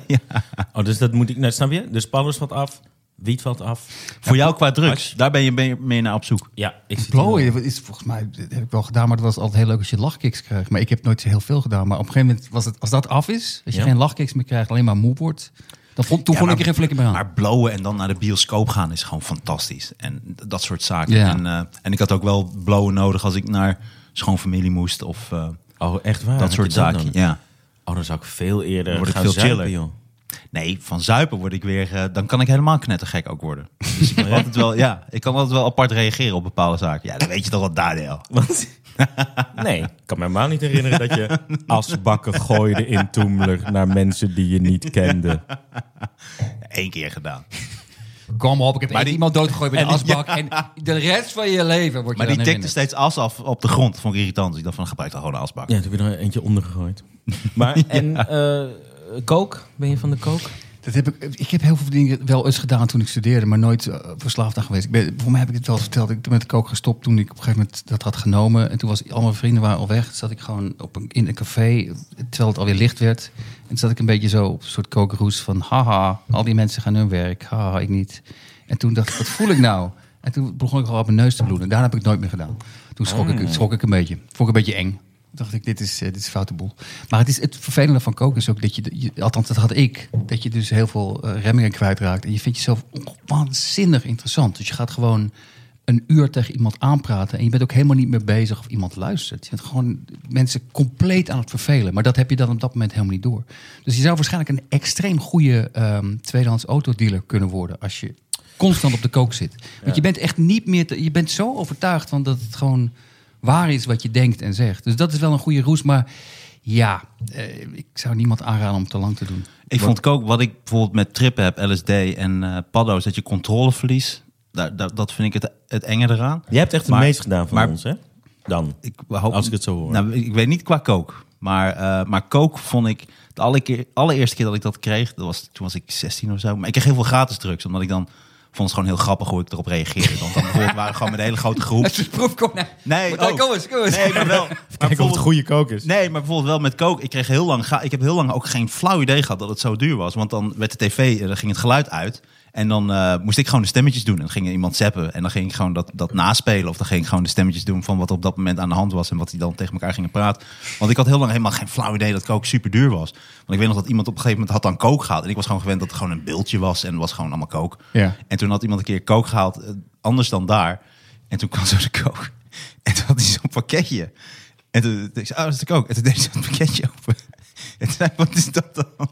Speaker 4: Oh, dus dat moet ik, nou, snap je? Dus pallers valt af, wiet valt af.
Speaker 2: Voor jou qua drugs, daar ben je, ben je meer naar op zoek.
Speaker 4: Ja, ik zit hier wel.
Speaker 3: Blowen is volgens mij, dat heb ik wel gedaan, maar dat was altijd heel leuk als je lachkicks kreeg. Maar ik heb nooit zo heel veel gedaan. Maar op een gegeven moment was het, als dat af is, als je
Speaker 4: Ja.
Speaker 3: geen lachkicks meer krijgt, alleen maar moe wordt, dan vond, toen
Speaker 2: Ja,
Speaker 3: vond
Speaker 2: maar-
Speaker 3: ik er geen flikker meer aan.
Speaker 2: Maar blowen en dan naar de bioscoop gaan is gewoon fantastisch. En d- dat soort zaken.
Speaker 3: Ja.
Speaker 2: En, eh, en ik had ook wel blowen nodig als ik naar schoonfamilie moest of eh,
Speaker 4: Oh, echt waar?
Speaker 2: dat
Speaker 4: Had
Speaker 2: soort
Speaker 4: je
Speaker 2: zaken.
Speaker 4: dan?
Speaker 2: ja.
Speaker 4: Oh, dan zou ik veel eerder
Speaker 2: Dan word ik
Speaker 4: gaan
Speaker 2: veel
Speaker 4: zuipen,
Speaker 2: chiller.
Speaker 4: joh.
Speaker 2: Nee, van zuipen word ik weer. eh, dan kan ik helemaal knettergek ook worden. Dus ik, heb altijd wel, ja, ik kan altijd wel apart reageren op bepaalde zaken. Ja, dat weet je toch wel, Daniel.
Speaker 4: Want, nee, ik kan me helemaal niet herinneren dat je asbakken gooide in Toemler naar mensen die je niet kende.
Speaker 2: Eén keer gedaan.
Speaker 3: Kom op, ik heb
Speaker 2: Maar
Speaker 3: echt
Speaker 2: die-
Speaker 3: iemand doodgegooid met een
Speaker 2: en die-
Speaker 3: asbak. En de rest van je leven wordt je
Speaker 2: Maar die
Speaker 3: dan
Speaker 2: tikte
Speaker 3: herinnerd.
Speaker 2: steeds as af op de grond. vond ik irritant. Dus ik dacht van, gebruik dan gewoon een asbak.
Speaker 4: Ja, toen heb je er eentje onder gegooid. Maar, en eh kook? Ben je van de kook?
Speaker 3: Dat heb ik, ik heb heel veel dingen wel eens gedaan toen ik studeerde, maar nooit eh, verslaafd aan geweest. Ik ben, voor mij heb ik het wel eens verteld. Ik ben met kook gestopt toen ik op een gegeven moment dat had genomen. En toen was al mijn vrienden waren al weg. Toen zat ik gewoon op een, in een café, terwijl het alweer licht werd. En toen zat ik een beetje zo op een soort kookroes van haha, al die mensen gaan hun werk. Haha, ik niet. En toen dacht ik, wat voel ik nou? En toen begon ik al op mijn neus te bloeden. Daarna heb ik het nooit meer gedaan. Toen schrok, ik, schrok ik een beetje. Vond ik een beetje eng. Toen dacht ik, dit is, eh, dit is een foute boel. Maar het, is, het vervelende van koken is ook dat je, je- althans dat had ik, dat je dus heel veel eh, remmingen kwijtraakt. En je vindt jezelf on- waanzinnig interessant. Dus je gaat gewoon een uur tegen iemand aanpraten. En je bent ook helemaal niet meer bezig of iemand luistert. Je bent gewoon mensen compleet aan het vervelen. Maar dat heb je dan op dat moment helemaal niet door. Dus je zou waarschijnlijk een extreem goede ehm, tweedehands autodealer kunnen worden als je constant op de kook zit. Want je bent echt niet meer. te- je bent zo overtuigd van dat het gewoon waar is wat je denkt en zegt. Dus dat is wel een goede roes. Maar ja, eh, ik zou niemand aanraden om het te lang te doen.
Speaker 2: Ik vond ook wat ik bijvoorbeeld met trippen heb, LSD en eh paddo's, dat je controle verliest. Daar, daar- dat vind ik het, het enge eraan.
Speaker 4: Jij hebt echt het
Speaker 2: Maar-
Speaker 4: meest gedaan van
Speaker 2: maar-
Speaker 4: ons, hè? Dan.
Speaker 2: Ik hoop,
Speaker 4: Als ik het zo hoor.
Speaker 2: Nou, ik weet niet qua kook. Maar, eh, maar kook vond ik... De alle keer, allereerste keer dat ik dat kreeg, dat was, toen was ik 16 of zo. Maar ik kreeg heel veel gratis drugs. Omdat ik dan vond het gewoon heel grappig hoe ik erop reageerde. Want dan bijvoorbeeld waren we gewoon met een hele grote groep.
Speaker 3: Het is proefkonijn.
Speaker 2: Nee,
Speaker 3: Maar dan,
Speaker 2: ook.
Speaker 3: kom eens, kom eens.
Speaker 2: Nee, maar wel. maar bijvoorbeeld-
Speaker 4: goede kook is.
Speaker 2: Nee, maar bijvoorbeeld wel met kook. Ik, kreeg heel lang, ga- ik heb heel lang ook geen flauw idee gehad dat het zo duur was. Want dan werd de tv, eh, dan ging het geluid uit. En dan eh, moest ik gewoon de stemmetjes doen. En dan ging er iemand zappen. En dan ging ik gewoon dat, dat naspelen. Of dan ging ik gewoon de stemmetjes doen van wat er op dat moment aan de hand was. En wat die dan tegen elkaar gingen praten. Want ik had heel lang helemaal geen flauw idee dat kook super duur was. Want ik weet nog dat iemand op een gegeven moment had dan kook gehaald. En ik was gewoon gewend dat het gewoon een beeldje was. En het was gewoon allemaal kook.
Speaker 3: Ja.
Speaker 2: En toen had iemand een keer kook gehaald, eh, anders dan daar. En toen kwam zo de kook. En toen had hij zo'n pakketje. En toen dacht ik, oh, dat is de kook. En toen deed hij zo'n pakketje open. En toen zei ik, wat is dat dan? En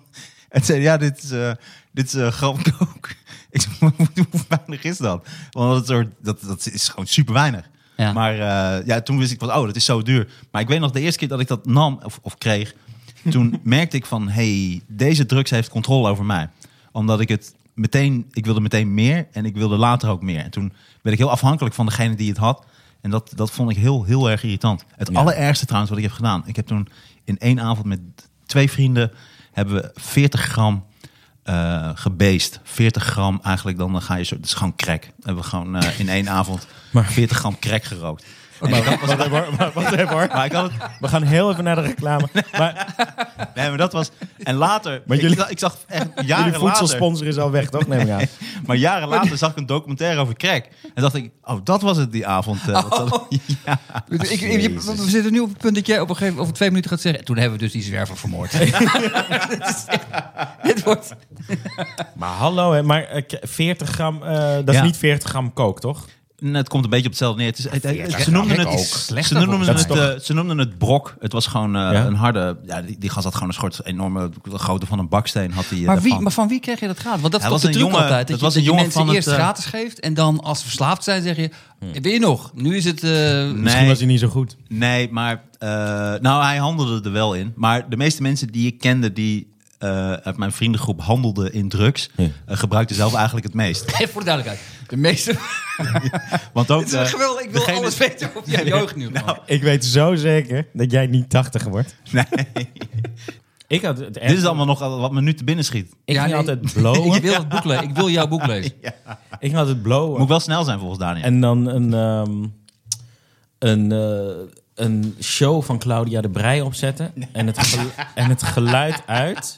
Speaker 2: toen zei hij, ja, dit is, eh dit is eh, gram kook. Ik zei, "Maar hoe, hoe weinig is dat? Want dat, soort, dat, dat is gewoon super weinig.
Speaker 3: Ja.
Speaker 2: Maar eh, ja, toen wist ik van, oh, dat is zo duur. Maar ik weet nog, de eerste keer dat ik dat nam of, of kreeg... toen merkte ik van, hey, deze drugs heeft controle over mij. Omdat ik het meteen, ik wilde meteen meer en ik wilde later ook meer. En toen werd ik heel afhankelijk van degene die het had. En En dat, dat vond ik heel, heel erg irritant. Het allerergste trouwens wat ik heb gedaan. Ik heb toen in één avond met twee vrienden... hebben we 40 gram eh gebeest. 40 gram eigenlijk, dan ga je zo... Dat is gewoon crack. Hebben we gewoon eh, in één avond 40 gram crack gerookt. En ik had-
Speaker 4: Wacht even hoor, maar- wacht even hoor.
Speaker 2: maar ik had het,
Speaker 4: Nou, We gaan heel even naar de reclame. Maar
Speaker 2: nee, maar dat was... En later...
Speaker 4: Maar
Speaker 2: ik,
Speaker 4: jullie-
Speaker 2: zag- ik zag echt
Speaker 4: jullie
Speaker 2: jaren later...
Speaker 4: voedselsponsor is al weg, toch? Neem ik aan.
Speaker 2: Maar jaren later zag ik een documentaire over crack. En dacht ik, oh, dat was het die avond. eh, wat dat- ja.
Speaker 3: Ik- ik- je- we zitten nu op het punt dat jij op een gegeven moment over twee minuten gaat zeggen. Toen hebben we dus die zwerver vermoord. Het is echt- Dit wordt.
Speaker 4: Maar hallo, hè, maar eh, k- 40 gram, eh, dat is
Speaker 2: Ja.
Speaker 4: niet 40 gram kook, toch?
Speaker 2: Nou, het komt een beetje op hetzelfde neer. Het is, het- het-
Speaker 4: veertig
Speaker 2: ze, noemden
Speaker 3: gram
Speaker 2: het,
Speaker 3: ook.
Speaker 2: ze,
Speaker 3: Slechter
Speaker 2: noemden
Speaker 4: volgens
Speaker 2: het,
Speaker 4: mij.
Speaker 2: eh, ze noemden het brok. Het was gewoon eh,
Speaker 4: Ja.
Speaker 2: een harde... Ja, die, die gast had gewoon een soort enorme grootte van een baksteen. Had die, eh,
Speaker 3: Maar, wie,
Speaker 2: daarvan.
Speaker 3: maar van wie kreeg je dat gratis? Want dat
Speaker 2: Hij
Speaker 3: was de
Speaker 2: was een
Speaker 3: truc
Speaker 2: jongen-
Speaker 3: altijd.
Speaker 2: dat
Speaker 3: Dat, je,
Speaker 2: was
Speaker 3: dat
Speaker 2: een
Speaker 3: je
Speaker 2: jongen
Speaker 3: mensen
Speaker 2: van het,
Speaker 3: eerst
Speaker 2: eh, Hm.
Speaker 3: gratis geeft en dan als ze verslaafd zijn zeg je... Wil je nog? Nu is het... eh,
Speaker 4: Misschien was hij niet zo goed.
Speaker 2: Nee, maar... eh, nou, hij handelde er wel in. Maar de meeste mensen die ik kende die... eh, uit mijn vriendengroep handelden in drugs, eh, gebruikten zelf eigenlijk het meest.
Speaker 3: Even voor de duidelijkheid. De meeste...
Speaker 2: Want ook
Speaker 3: het is echt
Speaker 2: eh,
Speaker 3: geweldig. Ik wil
Speaker 2: degene-
Speaker 3: alles weten op jouw jeugd nu. gewoon.
Speaker 4: Ik weet zo zeker dat jij niet 80 wordt.
Speaker 2: Nee,
Speaker 4: Ik had het
Speaker 2: dit is allemaal nog wat me nu te binnen schiet.
Speaker 4: Ik
Speaker 3: Ja,
Speaker 4: ging
Speaker 3: nee.
Speaker 4: altijd blowen.
Speaker 3: Ik wil, het boek le- ik wil jouw boek lezen.
Speaker 4: ik ging altijd
Speaker 2: Moet
Speaker 4: blowen.
Speaker 2: ik wel snel zijn volgens Daniel.
Speaker 4: En dan een, ehm, een, eh, een show van Claudia de Brij opzetten. En, het gelu- en het geluid uit.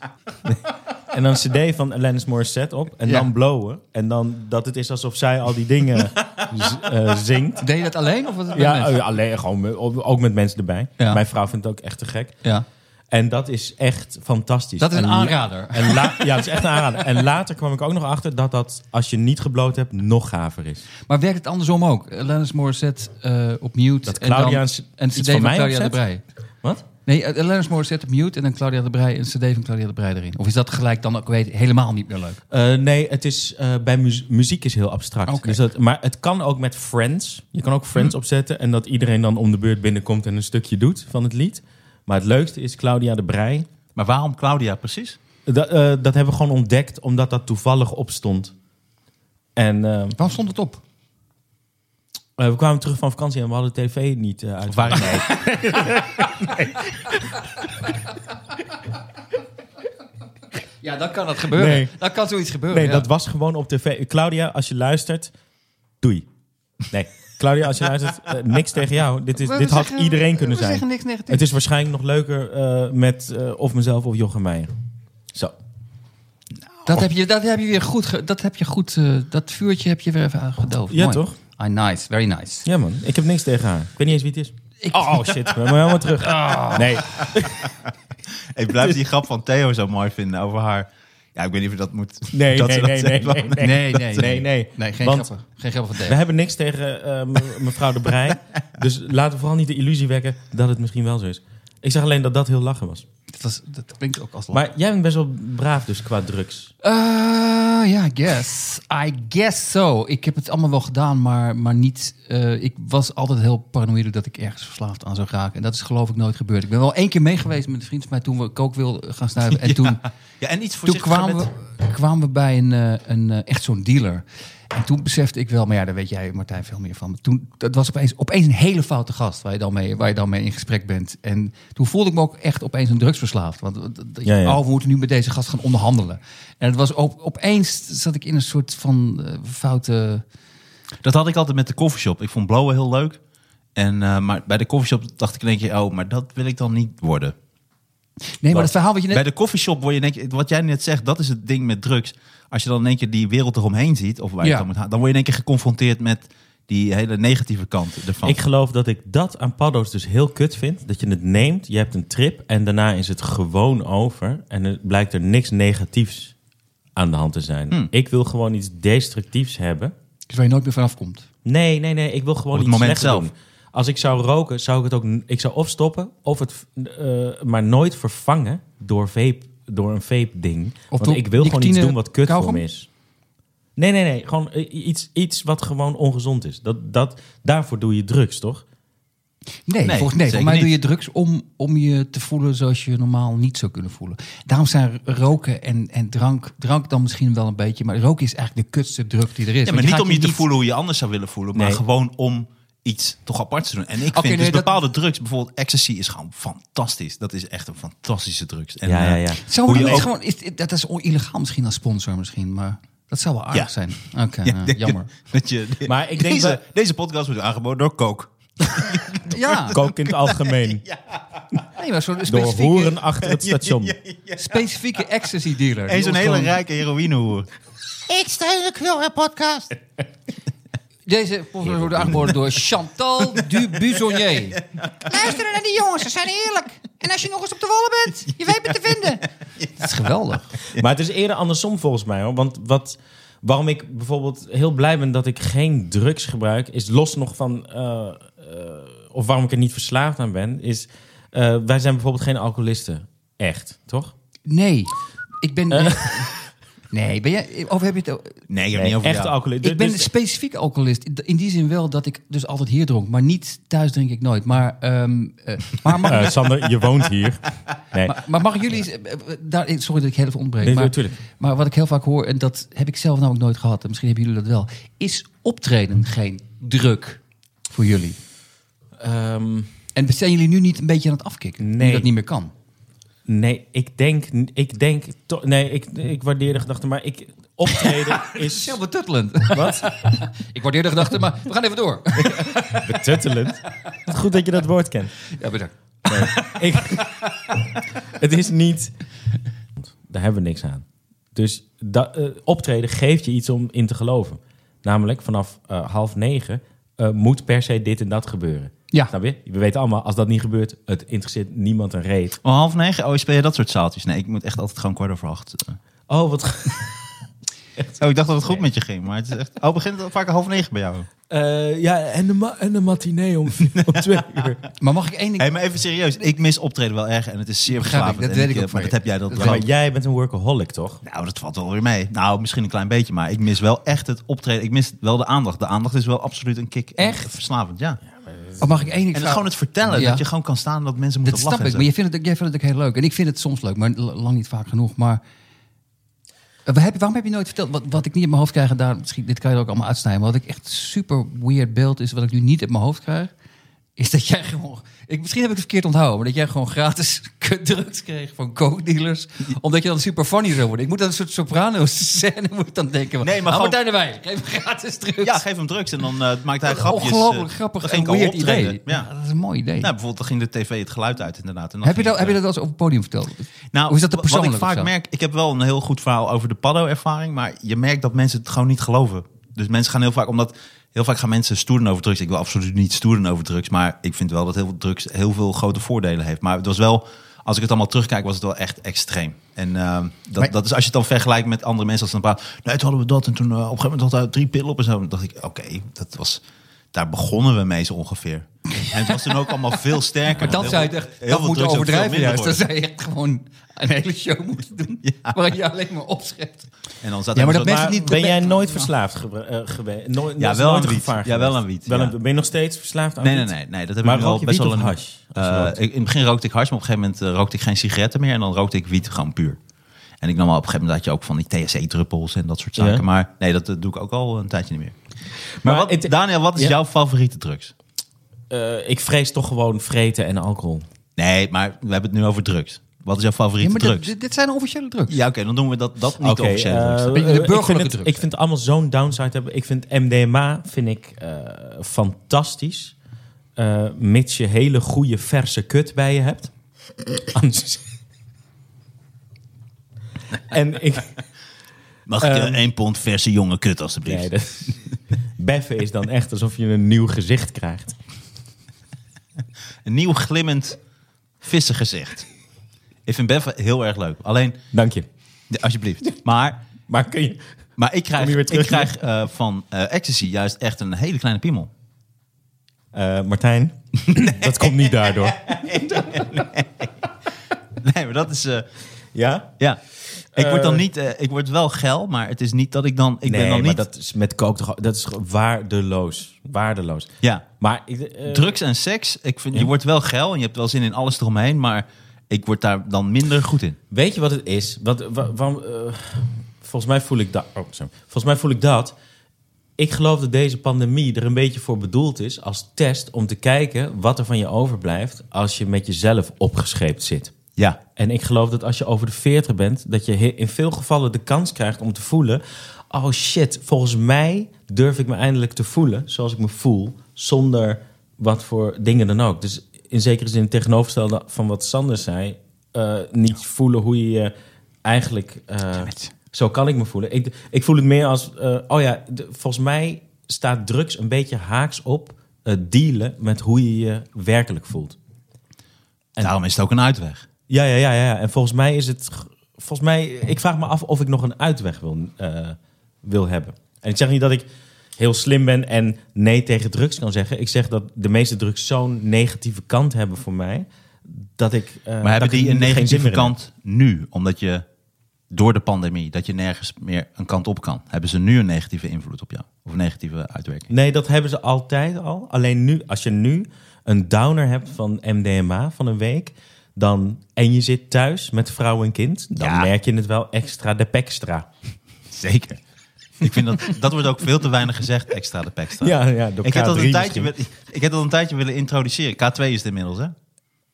Speaker 4: en dan een cd van Alanis Morissette op. En
Speaker 3: Ja.
Speaker 4: dan blowen. En dan dat het is alsof zij al die dingen z- eh, zingt.
Speaker 3: Deed je dat alleen? Of was het met
Speaker 4: Ja,
Speaker 3: mensen?
Speaker 4: eh, alleen gewoon met- op- ook met mensen erbij.
Speaker 3: Ja.
Speaker 4: Mijn vrouw vindt het ook echt te gek.
Speaker 3: ja.
Speaker 4: En dat is echt fantastisch.
Speaker 3: Dat is een
Speaker 4: En la-
Speaker 3: aanrader.
Speaker 4: En la- ja, dat is echt een aanrader. En later kwam ik ook nog achter dat dat, als je niet gebloot hebt, nog gaver is.
Speaker 3: Maar werkt het andersom ook? Alanis Morissette eh op mute.
Speaker 4: Dat
Speaker 3: en dan
Speaker 4: Claudia
Speaker 3: een
Speaker 4: een
Speaker 3: CD
Speaker 4: c-
Speaker 3: van,
Speaker 4: iets van mij
Speaker 3: Claudia de
Speaker 4: opzet?
Speaker 3: Brij.
Speaker 4: Wat?
Speaker 3: Nee, eh, Alanis Morissette op mute en dan Claudia de Brij. Een CD van Claudia de Brij erin. Of is dat gelijk dan ook weet, helemaal niet meer leuk?
Speaker 4: Eh, nee, het is, eh, bij mu- muziek is heel abstract.
Speaker 3: Oké.
Speaker 4: Dus dat, maar het kan ook met Friends. Je kan ook Friends opzetten en dat iedereen dan om de beurt binnenkomt en een stukje doet van het lied. Maar het leukste is Claudia de Brij.
Speaker 2: Maar waarom Claudia precies?
Speaker 4: Dat, eh, dat hebben we gewoon ontdekt omdat dat toevallig opstond. En eh, eh,
Speaker 3: Waarom stond het op?
Speaker 4: we kwamen terug van vakantie en we hadden de tv niet eh uit.
Speaker 2: Waarom
Speaker 3: Ja, dan kan dat gebeuren.
Speaker 4: Nee.
Speaker 3: Dan kan zoiets gebeuren.
Speaker 4: Nee,
Speaker 3: ja.
Speaker 4: dat was gewoon op tv. Claudia, als je luistert, doei. Nee, Claudia, als je luistert, eh, niks tegen jou. Dit, is,
Speaker 3: We- we
Speaker 4: dit had
Speaker 3: zeggen-
Speaker 4: iedereen kunnen
Speaker 3: We
Speaker 4: zijn.
Speaker 3: zeggen niks negatiefs.
Speaker 4: Het is waarschijnlijk nog leuker eh, met eh, of mezelf of Jochem Meijer. Zo.
Speaker 3: Dat heb je, dat heb je weer goed... ge- dat, heb je goed eh, dat vuurtje heb je weer even aangedoofd.
Speaker 4: Ja,
Speaker 3: Mooi.
Speaker 4: toch?
Speaker 3: Ah, nice. Very nice.
Speaker 4: Ja, man. Ik heb niks tegen haar. Ik weet niet eens wie het is.
Speaker 3: Ik- Ah.
Speaker 4: Oh, shit. We moeten helemaal terug. Nee.
Speaker 2: Ik blijf die grap van Theo zo mooi vinden over haar. Ja, ik weet niet of je dat moet.
Speaker 4: Nee,
Speaker 2: dat
Speaker 4: nee,
Speaker 2: ze dat
Speaker 4: nee,
Speaker 2: zegt,
Speaker 4: nee, nee,
Speaker 2: want-
Speaker 4: nee.
Speaker 3: Nee, nee,
Speaker 4: Nee, nee.
Speaker 3: Nee, geen
Speaker 4: Want-
Speaker 3: grappen. Geen grappen
Speaker 4: We
Speaker 3: van Dave.
Speaker 4: hebben niks tegen eh, me- mevrouw de Brij. Dus laten we vooral niet de illusie wekken dat het misschien wel zo is. Ik zeg alleen dat dat heel lachen was.
Speaker 3: Dat, was, dat klinkt ook als lach.
Speaker 4: Maar jij bent best wel braaf dus qua drugs.
Speaker 3: Eh, ja, I guess. I guess so. Ik heb het allemaal wel gedaan, maar, maar niet... eh, ik was altijd heel paranoïde dat ik ergens verslaafd aan zou raken. En dat is geloof ik nooit gebeurd. Ik ben wel één keer mee geweest met een vriend van mij toen we kook wil gaan snuiven. En toen,
Speaker 2: Ja, en iets
Speaker 3: toen
Speaker 2: voorzichtiger
Speaker 3: kwamen,
Speaker 2: met-
Speaker 3: we, kwamen we bij een, eh, een eh, echt zo'n dealer. En toen besefte ik wel, maar ja, daar weet jij Martijn veel meer van. Maar Toen, dat was opeens, opeens een hele foute gast waar je, dan mee, waar je dan mee in gesprek bent. En toen voelde ik me ook echt opeens een drugsverslaafd. Want eh, dat- dat-
Speaker 4: Ja, ja.
Speaker 3: oh, we moeten nu met deze gast gaan onderhandelen. En het was op, opeens zat ik in een soort van eh, foute...
Speaker 2: Dat had ik altijd met de koffieshop. Ik vond blowen heel leuk. En, eh, maar bij de koffieshop dacht ik in één keer, oh, maar dat wil ik dan niet worden.
Speaker 3: Nee, maar
Speaker 4: Wat?
Speaker 3: dat verhaal wat je net...
Speaker 2: Bij de koffieshop word je in één keer, wat jij net zegt, dat is het ding met drugs. Als je dan in één keer die wereld eromheen ziet, of waar je
Speaker 3: Ja.
Speaker 2: het dan moet halen, dan word je in één keer geconfronteerd met die hele negatieve kant ervan.
Speaker 4: Ik geloof dat ik dat aan paddo's dus heel kut vind. Dat je het neemt, je hebt een trip en daarna is het gewoon over. En er blijkt er niks negatiefs aan de hand te zijn. Ik wil gewoon iets destructiefs hebben.
Speaker 3: Dus waar je nooit meer vanaf komt.
Speaker 4: Nee, nee, nee. Ik wil gewoon
Speaker 2: Op het
Speaker 4: iets
Speaker 2: moment
Speaker 4: slechts
Speaker 2: zelf.
Speaker 4: doen. Als ik zou roken, zou ik het ook... n- Ik zou of stoppen, of het, eh, maar nooit vervangen door, vape, door een vape-ding.
Speaker 3: door
Speaker 4: Want ik wil gewoon iets
Speaker 3: nicotine
Speaker 4: doen wat kut voor
Speaker 3: kauwgom?
Speaker 4: me is. Nee, nee, nee. Gewoon eh, iets, iets wat gewoon ongezond is. Dat, dat, daarvoor doe je drugs, toch?
Speaker 3: Nee,
Speaker 2: Nee,
Speaker 3: volgens, nee
Speaker 2: zeker
Speaker 3: volgens mij doe
Speaker 2: niet.
Speaker 3: je drugs om, om je te voelen zoals je normaal niet zou kunnen voelen. Daarom zijn roken en, en drank, drank dan misschien wel een beetje, maar roken is eigenlijk de kutste druk die er
Speaker 2: ja,
Speaker 3: is. Want
Speaker 2: maar
Speaker 3: je
Speaker 2: niet
Speaker 3: gaat
Speaker 2: om je te voelen hoe je anders zou willen voelen, maar
Speaker 4: Nee.
Speaker 2: gewoon om iets toch apart te doen. En ik
Speaker 3: Oké,
Speaker 2: vind
Speaker 3: nee,
Speaker 2: dus
Speaker 3: dat-
Speaker 2: bepaalde drugs, bijvoorbeeld ecstasy, is gewoon fantastisch. Dat is echt een fantastische drugs. En,
Speaker 4: Ja, ja,
Speaker 2: eh,
Speaker 4: ja.
Speaker 3: Zou
Speaker 2: Hoe
Speaker 3: het
Speaker 2: je ook-
Speaker 3: niet gewoon, is, dat is on- illegaal misschien als sponsor misschien, maar dat zou wel aardig
Speaker 2: Ja.
Speaker 3: zijn. Oké,
Speaker 2: ja,
Speaker 3: nou,
Speaker 2: denk-
Speaker 3: jammer.
Speaker 2: Dat je,
Speaker 4: Maar ik denk
Speaker 2: deze,
Speaker 4: wel-
Speaker 2: deze podcast wordt aangeboden door Coke.
Speaker 3: Ja,
Speaker 4: Kook in het algemeen.
Speaker 3: nee, maar zo'n
Speaker 4: Door
Speaker 3: specifieke,
Speaker 4: hoeren achter het station.
Speaker 3: specifieke ecstasy dealer.
Speaker 2: En
Speaker 3: Die
Speaker 2: zo'n
Speaker 3: ons
Speaker 2: hele
Speaker 3: gewoon-
Speaker 2: rijke heroïnehoer.
Speaker 6: Ik steun de Knorren-podcast.
Speaker 3: Deze sponsor wordt aangeboden door Chantal Dubuzonnier.
Speaker 6: Luisteren naar die jongens, ze zijn eerlijk. En als je nog eens op de wollen bent, je weet me te vinden.
Speaker 3: Dat is geweldig.
Speaker 4: Maar het is eerder andersom volgens mij hoor. Want wat, waarom ik bijvoorbeeld heel blij ben dat ik geen drugs gebruik, is los nog van. eh, eh, of waarom ik er niet verslaafd aan ben, is. eh, wij zijn bijvoorbeeld geen alcoholisten. Echt, toch?
Speaker 3: Nee, ik ben... Nee, ben jij, of heb je het o-
Speaker 2: Nee, ik heb niet over
Speaker 4: Echte
Speaker 2: jou.
Speaker 4: alcoholisten.
Speaker 3: Ik ben een
Speaker 4: Dus-
Speaker 3: specifiek alcoholist. In- In die zin wel dat ik dus altijd hier dronk. Maar niet thuis drink ik nooit. Maar, ehm, eh, maar, mag,
Speaker 4: Eh, Sander, je woont hier. Nee,
Speaker 3: maar, maar mag jullie... eens, eh, eh, Daar, eh, sorry dat ik heel even ontbreek.
Speaker 4: Nee,
Speaker 3: maar,
Speaker 4: natuurlijk.
Speaker 3: maar wat ik heel vaak hoor, en dat heb ik zelf namelijk nooit gehad. En misschien hebben jullie dat wel. Is optreden geen druk voor jullie?
Speaker 4: ehm,
Speaker 3: En zijn jullie nu niet een beetje aan het afkicken? Nu
Speaker 4: Nee.
Speaker 3: dat niet meer kan.
Speaker 4: nee ik denk. Ik denk to- nee, ik, ik waardeer de gedachte, maar ik, optreden
Speaker 3: Dat is
Speaker 4: is.
Speaker 3: heel betuttelend.
Speaker 4: Wat?
Speaker 3: ik waardeer de gedachte, maar we gaan even door.
Speaker 4: Betuttelend. Goed dat je dat woord kent.
Speaker 3: ja, bedankt.
Speaker 4: Ik, het is niet. Daar hebben we niks aan. Dus da- eh, optreden geeft je iets om in te geloven. Namelijk vanaf eh, half negen eh, moet per se dit en dat gebeuren.
Speaker 3: Ja.
Speaker 4: Snap je? We weten allemaal, als dat niet gebeurt, het interesseert niemand een reet.
Speaker 2: Om half negen, oh, speel je dat soort zaaltjes? Nee, ik moet echt altijd gewoon kwart over acht.
Speaker 4: Oh, wat.
Speaker 2: Oh, ik dacht dat het goed met je ging, maar het is echt... Oh, begint het vaak half negen bij jou?
Speaker 4: Eh, ja, en de, ma- en de matinee om, om twee uur.
Speaker 3: Maar mag ik één ding...
Speaker 2: Hé, maar even serieus. Ik mis optreden wel erg en het is zeer
Speaker 3: Begrijp ik,
Speaker 2: verslavend.
Speaker 3: dat
Speaker 2: En
Speaker 3: weet ik ook
Speaker 2: eh,
Speaker 3: van
Speaker 2: Maar
Speaker 3: je.
Speaker 2: dat heb jij dat
Speaker 4: Ja, maar
Speaker 2: wel.
Speaker 4: jij bent een workaholic, toch?
Speaker 2: Nou, dat valt wel weer mee. Nou, misschien een klein beetje, maar ik mis wel echt het optreden. Ik mis wel de aandacht. De aandacht is wel absoluut een kick. En
Speaker 3: Echt?
Speaker 2: Verslavend, ja.
Speaker 3: Oh, mag ik één ding
Speaker 2: En
Speaker 3: vragen?
Speaker 2: gewoon het vertellen,
Speaker 3: Ja.
Speaker 2: dat je gewoon kan staan en dat mensen
Speaker 3: Dat
Speaker 2: moeten
Speaker 3: snap
Speaker 2: lachen.
Speaker 3: ik, maar je vindt het, ook- jij vindt het ook heel leuk. En ik vind het soms leuk, maar l- lang niet vaak genoeg. Maar eh, waar heb je- waarom heb je nooit verteld? Wat, wat ik niet in mijn hoofd krijg, en daar, misschien, dit kan je er ook allemaal uitsnijden. Maar wat ik echt super weird beeld is, wat ik nu niet in mijn hoofd krijg, is dat jij gewoon. Ik, misschien heb ik het verkeerd onthouden, maar dat jij gewoon gratis kutdrugs kreeg van coke-dealers. Omdat je dan super funny zou worden. Ik moet aan een soort soprano-scène moet ik dan
Speaker 2: Nee,
Speaker 3: denken.
Speaker 2: maar
Speaker 3: nou,
Speaker 2: gewoon-
Speaker 3: Martijn de Wij, geef me gratis drugs.
Speaker 2: Ja, geef hem drugs en dan eh, maakt hij grapjes.
Speaker 3: Ongelooflijk
Speaker 2: eh,
Speaker 3: grappig
Speaker 2: dan
Speaker 3: en
Speaker 2: ging ik al
Speaker 3: weird
Speaker 2: optreden.
Speaker 3: idee.
Speaker 2: Ja.
Speaker 3: Ja, dat is een mooi idee.
Speaker 2: Nou, bijvoorbeeld, dan ging de tv het geluid uit inderdaad. En dan
Speaker 3: heb, je
Speaker 2: ging eh,
Speaker 3: dat, heb je
Speaker 2: het,
Speaker 3: dat wel eens op het podium verteld?
Speaker 2: Nou,
Speaker 3: Hoe is dat de
Speaker 2: Wat ik
Speaker 3: persoonlijke
Speaker 2: vaak
Speaker 3: of zo?
Speaker 2: merk, ik heb wel een heel goed verhaal over de paddo-ervaring, maar je merkt dat mensen het gewoon niet geloven. Dus mensen gaan heel vaak, omdat heel vaak gaan mensen stoeren over drugs. Ik wil absoluut niet stoeren over drugs, maar ik vind wel dat heel veel drugs heel veel grote voordelen heeft. Maar het was wel, als ik het allemaal terugkijk, was het wel echt extreem. En ehm, dat,
Speaker 3: Maar-
Speaker 2: dat is als je het dan vergelijkt met andere mensen, als ze dan praten, nee, toen hadden we dat en toen eh, op een gegeven moment had hij drie pillen op en zo. Dan dacht ik, oké, dat was, daar begonnen we mee zo ongeveer. En het was toen ook allemaal veel sterker.
Speaker 3: Maar dat
Speaker 2: Heel
Speaker 3: zou je
Speaker 2: veel-
Speaker 3: echt,
Speaker 2: heel
Speaker 3: dat
Speaker 2: veel
Speaker 3: moet
Speaker 2: drugs ook veel
Speaker 3: overdrijven
Speaker 2: minder
Speaker 3: juist. Dan
Speaker 2: worden.
Speaker 3: zou je echt gewoon een hele show moeten doen. Waar je alleen maar opschrijft.
Speaker 2: En dan zat
Speaker 3: Ja,
Speaker 2: er
Speaker 3: maar
Speaker 2: zo'n-
Speaker 3: dat mensen niet-
Speaker 4: Ben jij nooit verslaafd gewe- eh, geweest? Nooit-
Speaker 2: Ja,
Speaker 4: is
Speaker 2: wel
Speaker 4: nooit
Speaker 2: aan
Speaker 4: een
Speaker 2: wiet.
Speaker 4: gevaar
Speaker 2: Ja,
Speaker 4: geweest?
Speaker 2: wel aan wiet,
Speaker 4: Wel
Speaker 2: ja.
Speaker 4: een- Ben je nog steeds verslaafd aan
Speaker 2: Nee, nee,
Speaker 4: wiet?
Speaker 2: nee, nee. Dat heb
Speaker 4: Maar
Speaker 2: ik nu al
Speaker 4: rook je
Speaker 2: best
Speaker 4: wiet
Speaker 2: wel
Speaker 4: of
Speaker 2: een
Speaker 4: hash, als je
Speaker 2: Eh,
Speaker 4: rookt?
Speaker 2: ik, in het begin rookte ik hash, maar op een gegeven moment eh, rookte ik geen sigaretten meer. En dan rookte ik wiet gewoon puur. En ik nam al op een gegeven moment had je ook van die THC-druppels en dat soort zaken.
Speaker 4: Ja.
Speaker 2: Maar nee, dat eh, doe ik ook al een tijdje niet meer. Maar,
Speaker 4: Maar
Speaker 2: wat,
Speaker 4: het-
Speaker 2: Daniel, wat is
Speaker 4: Ja.
Speaker 2: jouw favoriete drugs?
Speaker 4: Eh, ik vrees toch gewoon vreten en alcohol.
Speaker 2: Nee, maar we hebben het nu over drugs. Wat is jouw favoriete drugs?
Speaker 3: dit, dit zijn officiële drugs.
Speaker 2: Ja, oké, dan doen we dat, dat niet
Speaker 4: Oké,
Speaker 2: officieel.
Speaker 4: eh,
Speaker 2: drugs.
Speaker 3: Beetje de
Speaker 4: eh, ik vind
Speaker 3: burgerlijke
Speaker 4: het-
Speaker 3: drugs.
Speaker 4: Ik vind het allemaal zo'n downside hebben. Ik vind MDMA vind ik, eh, fantastisch. Eh, mits je hele goede verse kut bij je hebt. Anders is- en ik...
Speaker 2: Mag ik
Speaker 4: ehm,
Speaker 2: een één pond verse jonge kut, alstublieft?
Speaker 4: Nee, dat, beffen is dan echt alsof je een nieuw gezicht krijgt.
Speaker 2: Een nieuw glimmend vissengezicht. ik vind Bev heel erg leuk. Alleen,
Speaker 4: Dank je.
Speaker 2: alsjeblieft. Maar...
Speaker 4: Maar kun je...
Speaker 2: Maar ik
Speaker 4: Kom
Speaker 2: krijg,
Speaker 4: je weer terug?
Speaker 2: ik krijg eh, van eh, ecstasy juist echt een hele kleine piemel.
Speaker 4: Eh, Martijn, dat komt niet daardoor.
Speaker 2: Nee, maar dat is... eh,
Speaker 4: Ja?
Speaker 2: ja. Ik word dan
Speaker 4: Eh.
Speaker 2: niet... eh, ik word wel geil, maar het is niet dat ik dan... Ik ben dan
Speaker 4: maar
Speaker 2: niet...
Speaker 4: dat is met coke toch... Dat is gewoon waardeloos. Waardeloos.
Speaker 2: Ja.
Speaker 4: Maar... ik- eh,
Speaker 2: Drugs en seks, ik vind, je wordt wel geil en je hebt wel zin in alles eromheen, maar ik word daar dan minder goed in.
Speaker 4: Weet je wat het is? Wat, wa- waarom, eh, volgens mij voel ik dat. Oh, sorry. Volgens mij voel ik dat. ik geloof dat deze pandemie er een beetje voor bedoeld is als test om te kijken wat er van je overblijft als je met jezelf opgescheept zit.
Speaker 2: Ja.
Speaker 4: En ik geloof dat als je over de 40 bent, dat je he- in veel gevallen de kans krijgt om te voelen: oh shit, volgens mij durf ik me eindelijk te voelen zoals ik me voel, zonder wat voor dingen dan ook. Dus in zekere zin het tegenovergestelde van wat Sander zei: eh, niet voelen hoe je je eigenlijk. eh, zo kan ik me voelen. Ik, ik voel het meer als: eh, oh ja, de- volgens mij staat drugs een beetje haaks op het dealen met hoe je je werkelijk voelt.
Speaker 2: En daarom is het ook een uitweg.
Speaker 4: Ja, ja, ja, ja. En volgens mij is het. Volgens mij, ik vraag me af of ik nog een uitweg wil, eh, wil hebben. En ik zeg niet dat ik heel slim ben en nee tegen drugs kan zeggen. Ik zeg dat de meeste drugs zo'n negatieve kant hebben voor mij. Dat ik. eh, dat
Speaker 2: Maar hebben
Speaker 4: ik er
Speaker 2: die een
Speaker 4: geen zin
Speaker 2: negatieve
Speaker 4: meer in heb.
Speaker 2: kant nu? Omdat je door de pandemie, dat je nergens meer een kant op kan. Hebben ze nu een negatieve invloed op jou? Of een negatieve uitwerking?
Speaker 4: Nee, dat hebben ze altijd al. Alleen nu, als je nu een downer hebt van MDMA van een week. Dan, en je zit thuis met vrouw en kind. Dan
Speaker 2: Ja.
Speaker 4: merk je het wel extra de pekstra.
Speaker 2: Zeker. Ik vind dat, dat wordt ook veel te weinig gezegd, extra de pekstra.
Speaker 4: Ja, ja, door
Speaker 2: ik, heb dat
Speaker 4: K3
Speaker 2: een tijdje,
Speaker 4: misschien.
Speaker 2: wil- ik heb dat een tijdje willen introduceren. K2 is het inmiddels, hè?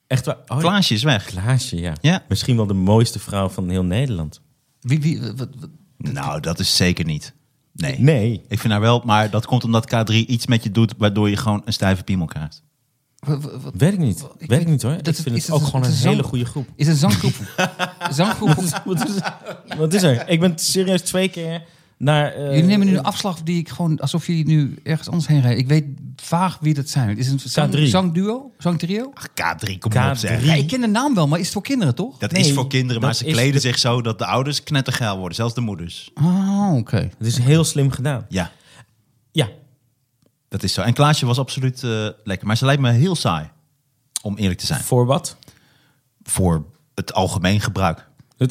Speaker 4: Echt waar. Oh, ja.
Speaker 2: Klaasje is weg.
Speaker 4: Klaasje, ja.
Speaker 2: Ja.
Speaker 4: Misschien wel de mooiste vrouw van heel Nederland.
Speaker 3: Wie, wie, wat, wat-
Speaker 2: Nou, dat is zeker niet. Nee.
Speaker 4: Nee.
Speaker 2: Ik vind haar wel, maar dat komt omdat K3 iets met je doet... waardoor je gewoon een stijve piemel krijgt.
Speaker 3: wat- wat- wat-
Speaker 4: Weet ik niet.
Speaker 3: Ik-
Speaker 4: Weet ik niet hoor. ik
Speaker 3: dat is-
Speaker 4: vind
Speaker 3: is
Speaker 4: het
Speaker 3: dat
Speaker 4: ook
Speaker 3: een-
Speaker 4: gewoon
Speaker 3: het
Speaker 4: een
Speaker 3: is
Speaker 4: hele
Speaker 3: zang-
Speaker 4: goede groep.
Speaker 3: is een zanggroep. zanggroep.
Speaker 4: Wat is, wat is er? Ik ben serieus twee keer naar... eh,
Speaker 3: Jullie nemen nu een afslag die ik gewoon alsof jullie nu ergens anders heen rijden. Ik weet vaag wie dat zijn. Het is een zang,
Speaker 4: K3.
Speaker 3: zangduo, zangtrio.
Speaker 2: Ach, K3, kom
Speaker 4: K3.
Speaker 2: op zeg.
Speaker 3: Ja, ik ken de naam wel, maar is het voor kinderen toch?
Speaker 2: Dat
Speaker 4: Nee,
Speaker 2: is voor kinderen, maar
Speaker 4: dat
Speaker 2: ze
Speaker 4: is
Speaker 2: kleden
Speaker 4: de-
Speaker 2: zich zo dat de ouders knettergeil worden. Zelfs de moeders.
Speaker 3: Oh, oké.
Speaker 4: Het is heel slim gedaan.
Speaker 2: Ja,
Speaker 4: Ja.
Speaker 2: dat is zo. En Klaasje was absoluut eh, lekker. Maar ze lijkt me heel saai, om eerlijk te zijn.
Speaker 4: Voor wat?
Speaker 2: Voor het algemeen gebruik.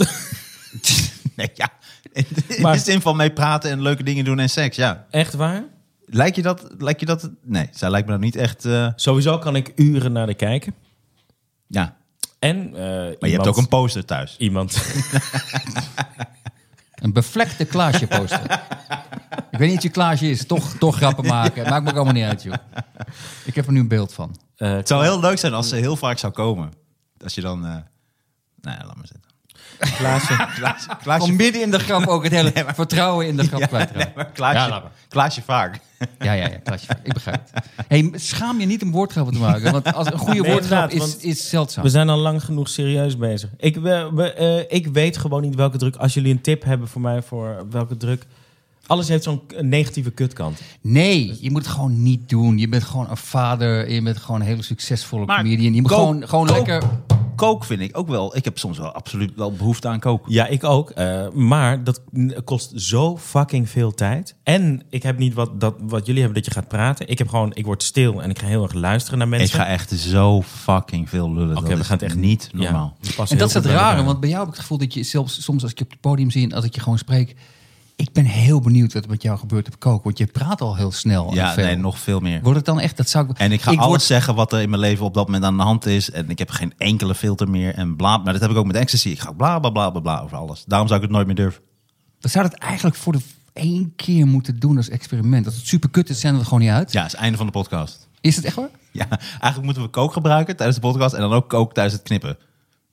Speaker 2: Nee, ja. In de, in
Speaker 4: Maar-
Speaker 2: de zin van mee praten en leuke dingen doen en seks, ja.
Speaker 4: Echt waar?
Speaker 2: Lijkt je dat... Lijkt je dat nee, zij lijkt me nou niet echt... eh,
Speaker 4: Sowieso kan ik uren naar de kijken.
Speaker 2: ja. Maar
Speaker 4: En eh, iemand,
Speaker 2: je hebt ook een poster thuis.
Speaker 4: Iemand.
Speaker 3: Een bevlekte Klaasje poster. ik weet niet wat je Klaasje is. Toch, toch grappen maken. Maakt me ook allemaal niet uit, joh. Ik heb er nu een beeld van.
Speaker 4: Eh,
Speaker 2: Het zou heel leuk zijn als ze heel vaak zou komen. Als je dan... eh nou ja, laat maar zitten.
Speaker 4: Klaasje.
Speaker 2: Klaasje,
Speaker 3: Van
Speaker 2: Klaasje,
Speaker 3: midden in de grap ook het hele vertrouwen in de grap kwijtraken.
Speaker 2: nee, maar Klaasje,
Speaker 3: Ja, laat maar.
Speaker 2: Klaasje vaak.
Speaker 3: Ja, ja, ja, Klaasje. Ik begrijp het. Hey, schaam je niet om woordgrappen te maken. Want als een goede
Speaker 4: Nee,
Speaker 3: woordgrap
Speaker 4: inderdaad,
Speaker 3: is,
Speaker 4: want-
Speaker 3: is zeldzaam.
Speaker 4: We zijn al lang genoeg serieus bezig. Ik, we, we, eh, ik weet gewoon niet welke druk. Als jullie een tip hebben voor mij voor welke druk. Alles heeft zo'n k- negatieve kutkant.
Speaker 3: Nee, je moet het gewoon niet doen. Je bent gewoon een vader. en Je bent gewoon een hele succesvolle
Speaker 2: Maar
Speaker 3: comedian. Je moet
Speaker 2: kook-
Speaker 3: gewoon, gewoon
Speaker 2: kook-
Speaker 3: lekker...
Speaker 2: Kook vind ik ook wel. Ik heb soms wel absoluut wel behoefte aan koken.
Speaker 4: Ja, ik ook. eh, maar dat n- kost zo fucking veel tijd. En ik heb niet wat, dat, wat jullie hebben, dat je gaat praten. Ik heb gewoon, ik word stil en ik ga heel erg luisteren naar mensen.
Speaker 2: Ik ga echt zo fucking veel lullen.
Speaker 4: Oké,
Speaker 2: dat
Speaker 4: we
Speaker 2: is
Speaker 4: gaan het echt
Speaker 2: niet
Speaker 4: Ja,
Speaker 2: normaal.
Speaker 4: we passen
Speaker 3: En dat is
Speaker 4: heel
Speaker 3: het
Speaker 4: goed bij
Speaker 3: rare,
Speaker 4: elkaar.
Speaker 3: want bij jou heb ik het gevoel dat je zelfs soms als ik je op het podium zie en als ik je gewoon spreek, ik ben heel benieuwd wat er met jou gebeurt op koken, want je praat al heel snel. en
Speaker 2: Ja,
Speaker 3: veel.
Speaker 2: nee, nog veel meer.
Speaker 3: Wordt het dan echt, dat zou ik...
Speaker 2: En ik ga alles
Speaker 3: word-
Speaker 2: zeggen wat er in mijn leven op dat moment aan de hand is. En ik heb geen enkele filter meer. En bla, maar dat heb ik ook met ecstasy. Ik ga ook bla bla bla bla bla over alles. Daarom zou ik het nooit meer durven.
Speaker 3: We zouden het eigenlijk voor de v- één keer moeten doen als experiment. Dat het super kut is, zijn we er gewoon niet uit.
Speaker 2: Ja, is het einde van de podcast.
Speaker 3: Is het echt waar?
Speaker 2: Ja, eigenlijk moeten we kook gebruiken tijdens de podcast. En dan ook kook tijdens het knippen.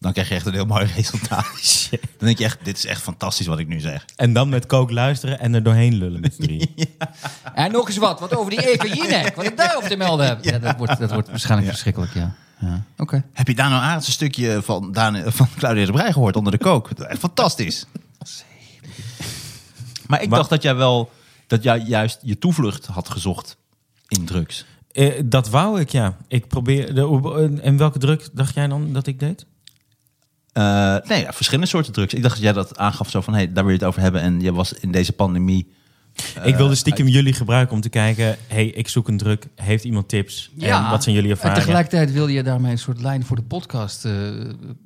Speaker 2: Dan krijg je echt een heel mooi resultaat. Dan denk je echt, dit is echt fantastisch wat ik nu zeg.
Speaker 4: En dan met kook luisteren en er doorheen lullen met z'n drieën.
Speaker 3: En nog eens wat, wat over die Eva Jinek, wat ik daarop te melden heb. Ja, dat, wordt, dat wordt waarschijnlijk verschrikkelijk, ja. ja. Oké.
Speaker 2: Heb je Daan Arends een stukje van, Daan, eh, van Claudia de Brij gehoord onder de kook? Dat is Echt fantastisch. Maar ik
Speaker 4: Maar-
Speaker 2: dacht dat jij wel dat jij juist je toevlucht had gezocht in drugs.
Speaker 4: Eh, dat wou ik, ja. Ik probeer, de, eh, en welke druk dacht jij dan dat ik deed?
Speaker 2: Eh, nee, ja, verschillende soorten drugs. Ik dacht dat jij dat aangaf zo van, hey, daar wil je het over hebben. En je was in deze pandemie.
Speaker 4: Eh, ik wilde stiekem jullie gebruiken om te kijken... hey, ik zoek een druk. Heeft iemand tips? en wat zijn jullie
Speaker 3: En
Speaker 4: ervaringen?
Speaker 3: tegelijkertijd wil je daarmee een soort lijn voor de podcast. eh,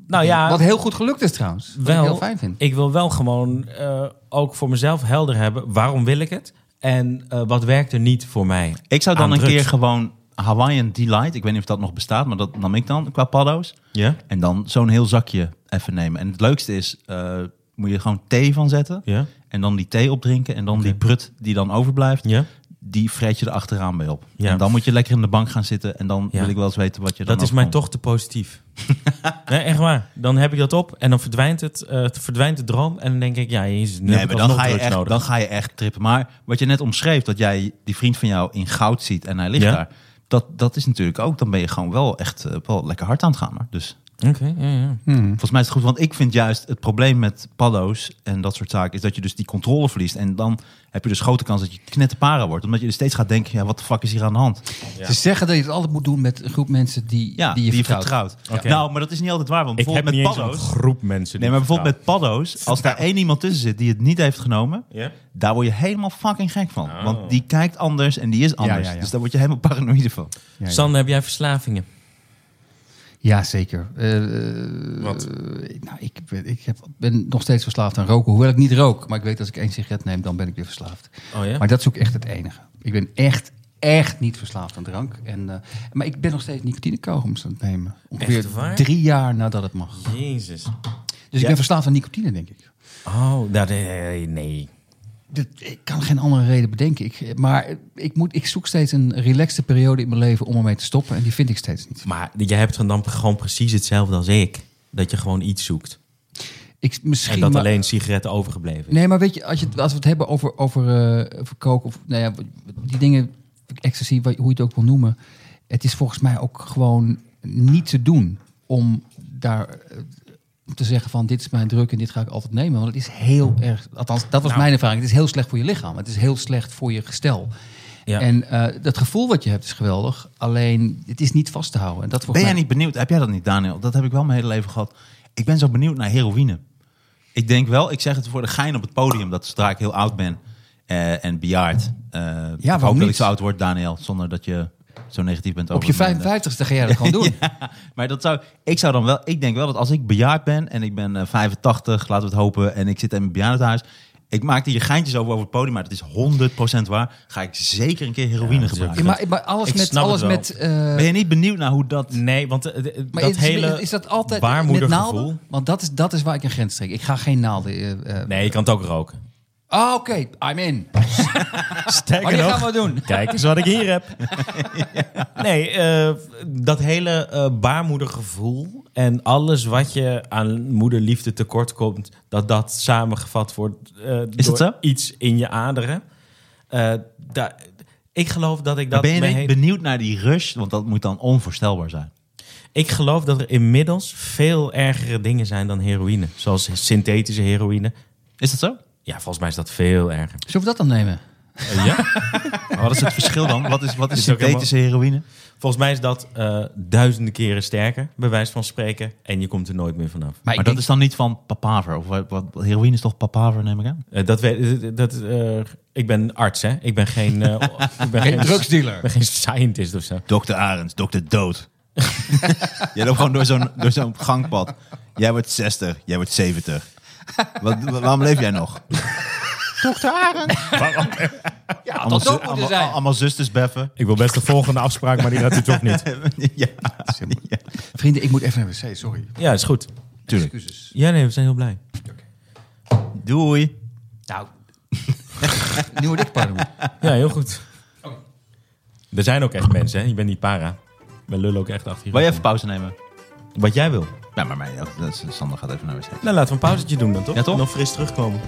Speaker 4: Nou ja,
Speaker 3: wat heel goed gelukt is trouwens. Wat ik heel fijn vind.
Speaker 4: Ik wil wel gewoon eh, ook voor mezelf helder hebben. Waarom wil ik het? En eh, wat werkt er niet voor mij?
Speaker 2: Ik zou dan
Speaker 4: Aan
Speaker 2: een
Speaker 4: drugs.
Speaker 2: keer gewoon Hawaiian Delight. Ik weet niet of dat nog bestaat, maar dat nam ik dan qua paddo's.
Speaker 4: Ja?
Speaker 2: En dan zo'n heel zakje even nemen. En het leukste is, eh, moet je er gewoon thee van zetten.
Speaker 4: Ja?
Speaker 2: En dan die thee opdrinken. En dan die prut die dan overblijft.
Speaker 4: Ja?
Speaker 2: die vreet je er achteraan mee op.
Speaker 4: Ja.
Speaker 2: En dan moet je lekker in de bank gaan zitten en dan
Speaker 4: Ja.
Speaker 2: wil ik wel eens weten wat je dan
Speaker 4: Dat is mij
Speaker 2: overkomt.
Speaker 4: toch te positief. nee, echt waar. Dan heb ik dat op en dan verdwijnt het, eh, het verdwijnt de droom. En dan denk ik, ja, jezus, nu
Speaker 2: Nee,
Speaker 4: heb
Speaker 2: maar
Speaker 4: ik
Speaker 2: dan
Speaker 4: alsnog
Speaker 2: ga, je
Speaker 4: drugs
Speaker 2: echt,
Speaker 4: nodig.
Speaker 2: dan ga je echt trippen. Maar wat je net omschreef, dat jij die vriend van jou in goud ziet en hij ligt
Speaker 4: Ja.
Speaker 2: daar. Dat, dat is natuurlijk ook, dan ben je gewoon wel echt eh, wel lekker hard aan het gaan. hoor. Dus
Speaker 4: Oké, ja, ja.
Speaker 2: volgens mij is het goed, want ik vind juist het probleem met paddo's en dat soort zaken, is dat je dus die controle verliest. En dan heb je dus grote kans dat je knetterparen wordt. Omdat je er steeds gaat denken, ja, wat de fuck is hier aan de hand?
Speaker 3: Ze zeggen dat je het altijd moet doen met een groep mensen die,
Speaker 2: Ja,
Speaker 3: die je vertrouwt.
Speaker 4: Oké.
Speaker 2: Nou, maar dat is niet altijd waar, want
Speaker 4: Ik heb
Speaker 2: bijvoorbeeld
Speaker 4: niet
Speaker 2: met
Speaker 4: eens een
Speaker 2: paddo's...
Speaker 4: groep mensen.
Speaker 2: Nee, maar bijvoorbeeld met paddo's, als daar één iemand tussen zit die het niet heeft genomen,
Speaker 4: Ja?
Speaker 2: daar word je helemaal fucking gek van. Want die kijkt anders en die is anders.
Speaker 3: Oh. ja, ja.
Speaker 2: Dus daar word je helemaal paranoïde van.
Speaker 3: Ja, ja.
Speaker 4: Sander, heb jij verslavingen?
Speaker 3: Ja, zeker. Eh,
Speaker 7: Wat?
Speaker 3: eh, nou, ik ben, ik heb, ben nog steeds verslaafd aan roken. Hoewel ik niet rook, maar ik weet dat als ik één sigaret neem, dan ben ik weer verslaafd.
Speaker 4: Oh ja?
Speaker 3: Maar dat is ook echt het enige. Ik ben echt, echt niet verslaafd aan drank. En, eh, maar ik ben nog steeds nicotinekogels aan het nemen. Ongeveer
Speaker 4: waar?
Speaker 3: drie jaar nadat het mag.
Speaker 4: Jezus.
Speaker 3: Dus ik ben verslaafd aan nicotine, denk ik.
Speaker 4: Oh, dat, nee, nee.
Speaker 3: Dat- ik kan geen andere reden bedenken. Ik, maar ik, moet, ik zoek steeds een relaxte periode in mijn leven om ermee te stoppen. En die vind ik steeds niet.
Speaker 4: Maar jij hebt dan gewoon precies hetzelfde als ik. Dat je gewoon iets zoekt.
Speaker 3: Ik, misschien
Speaker 4: en dat
Speaker 3: maar-
Speaker 4: alleen sigaretten overgebleven is.
Speaker 3: Nee, maar weet je, als, je, het- als we het hebben over, over, eh, over koken of nou ja, die dingen, ecstasy, wat- hoe je het ook wil noemen. Het is volgens mij ook gewoon niet te doen om daar eh, om te zeggen van dit is mijn druk en dit ga ik altijd nemen. Want het is heel erg, althans dat was
Speaker 4: Nou.
Speaker 3: mijn ervaring, het is heel slecht voor je lichaam. Het is heel slecht voor je gestel.
Speaker 4: Ja.
Speaker 3: En eh, dat gevoel wat je hebt is geweldig, alleen het is niet vast te houden. En dat
Speaker 2: Ben
Speaker 3: volgens
Speaker 2: jij
Speaker 3: mij-
Speaker 2: niet benieuwd? Heb jij dat niet, Daniel? Dat heb ik wel mijn hele leven gehad. Ik ben zo benieuwd naar heroïne. Ik denk wel, ik zeg het voor de gein op het podium, dat zodra ik heel oud ben eh, en bejaard. eh, ik hoop
Speaker 3: waarom
Speaker 2: dat ik
Speaker 3: niet?
Speaker 2: zo oud word, Daniel, zonder dat je zo negatief bent over
Speaker 3: Op je
Speaker 2: mijn, eh,
Speaker 3: 55ste ga jij dat gewoon doen.
Speaker 2: Ja, maar dat zou, ik zou dan wel, ik denk wel dat als ik bejaard ben en ik ben eh, 85, laten we het hopen, en ik zit in mijn bejaardentehuis. Ik maakte hier geintjes over over het podium, maar dat is 100% waar. Ga ik zeker een keer heroïne
Speaker 4: dat is
Speaker 2: gebruiken.
Speaker 3: Ja, maar, maar alles
Speaker 4: Ik
Speaker 3: met,
Speaker 4: snap het
Speaker 3: alles
Speaker 4: wel.
Speaker 3: met eh,
Speaker 2: ben je niet benieuwd naar hoe dat...
Speaker 4: Nee, want eh, eh,
Speaker 3: Maar
Speaker 4: dat
Speaker 3: is,
Speaker 4: hele
Speaker 3: is dat altijd met
Speaker 4: baarmoedergevoel-
Speaker 3: naalden? Want dat is, dat is waar ik een grens trek. Ik ga geen naalden. eh, eh,
Speaker 4: Nee, je kan het ook roken.
Speaker 3: Ah, oké, I'm in. Maar die gaan we doen.
Speaker 4: Kijk eens wat ik hier heb. Nee, eh, dat hele eh, baarmoedergevoel en alles wat je aan moederliefde tekort komt, dat dat samengevat wordt eh,
Speaker 2: Is dat
Speaker 4: door
Speaker 2: zo?
Speaker 4: iets in je aderen. Eh, daar- ik geloof dat ik
Speaker 2: Maar
Speaker 4: dat.
Speaker 2: ben je
Speaker 4: mijn
Speaker 2: niet
Speaker 4: hele-
Speaker 2: benieuwd naar die rush? Want dat moet dan onvoorstelbaar zijn.
Speaker 4: Ik geloof dat er inmiddels veel ergere dingen zijn dan heroïne, zoals synthetische heroïne.
Speaker 2: Is dat zo?
Speaker 4: Ja, volgens mij is dat veel erger.
Speaker 3: Zullen we dat dan nemen?
Speaker 4: Oh ja?
Speaker 2: Maar wat is het verschil dan? Wat is, wat is,
Speaker 4: Is ook
Speaker 2: synthetische heroïne?
Speaker 4: Volgens mij is dat eh, duizenden keren sterker, bij wijze van spreken. En je komt er nooit meer vanaf.
Speaker 3: Maar,
Speaker 2: Maar
Speaker 3: ik
Speaker 2: dat is dan niet van papaver? Of wat, wat- heroïne is toch papaver, neem ik aan?
Speaker 4: Eh, dat weet, dat, eh, ik ben arts, hè? Ik ben geen, eh, ik ben geen,
Speaker 3: denk geen
Speaker 4: ik
Speaker 3: drugsdealer.
Speaker 4: ben geen scientist of zo.
Speaker 2: Dokter Arends, dokter Dood. jij loopt gewoon door zo'n, door zo'n gangpad. Jij wordt 60, jij wordt 70. Wat, wa- waarom leef jij nog?
Speaker 3: Ja,
Speaker 2: Allemaal,
Speaker 3: dat
Speaker 2: zu-
Speaker 3: ook moeten
Speaker 2: allemaal,
Speaker 3: zijn.
Speaker 2: allemaal zusters beffen.
Speaker 4: Ik wil best de volgende afspraak, maar die gaat u toch niet.
Speaker 2: ja,
Speaker 3: Vrienden, ik moet even naar de wc, sorry.
Speaker 4: Ja, is goed.
Speaker 2: tuurlijk.
Speaker 3: Excuses.
Speaker 4: Ja, nee, we zijn heel blij.
Speaker 2: Doei.
Speaker 3: Nou, nieuwe dikpardon.
Speaker 4: Ja, heel goed. Oh. Er zijn ook echt mensen, hè? Je bent niet para. We lullen ook echt achter je.
Speaker 2: Wil je
Speaker 4: rug
Speaker 2: even pauze nemen?
Speaker 4: om. Wat jij wil.
Speaker 2: Ja, maar mij, ook. Dat is- Sander gaat even naar de wc.
Speaker 4: Nou, laten we een pauzetje doen dan, toch?
Speaker 2: Ja, toch?
Speaker 4: En dan fris terugkomen.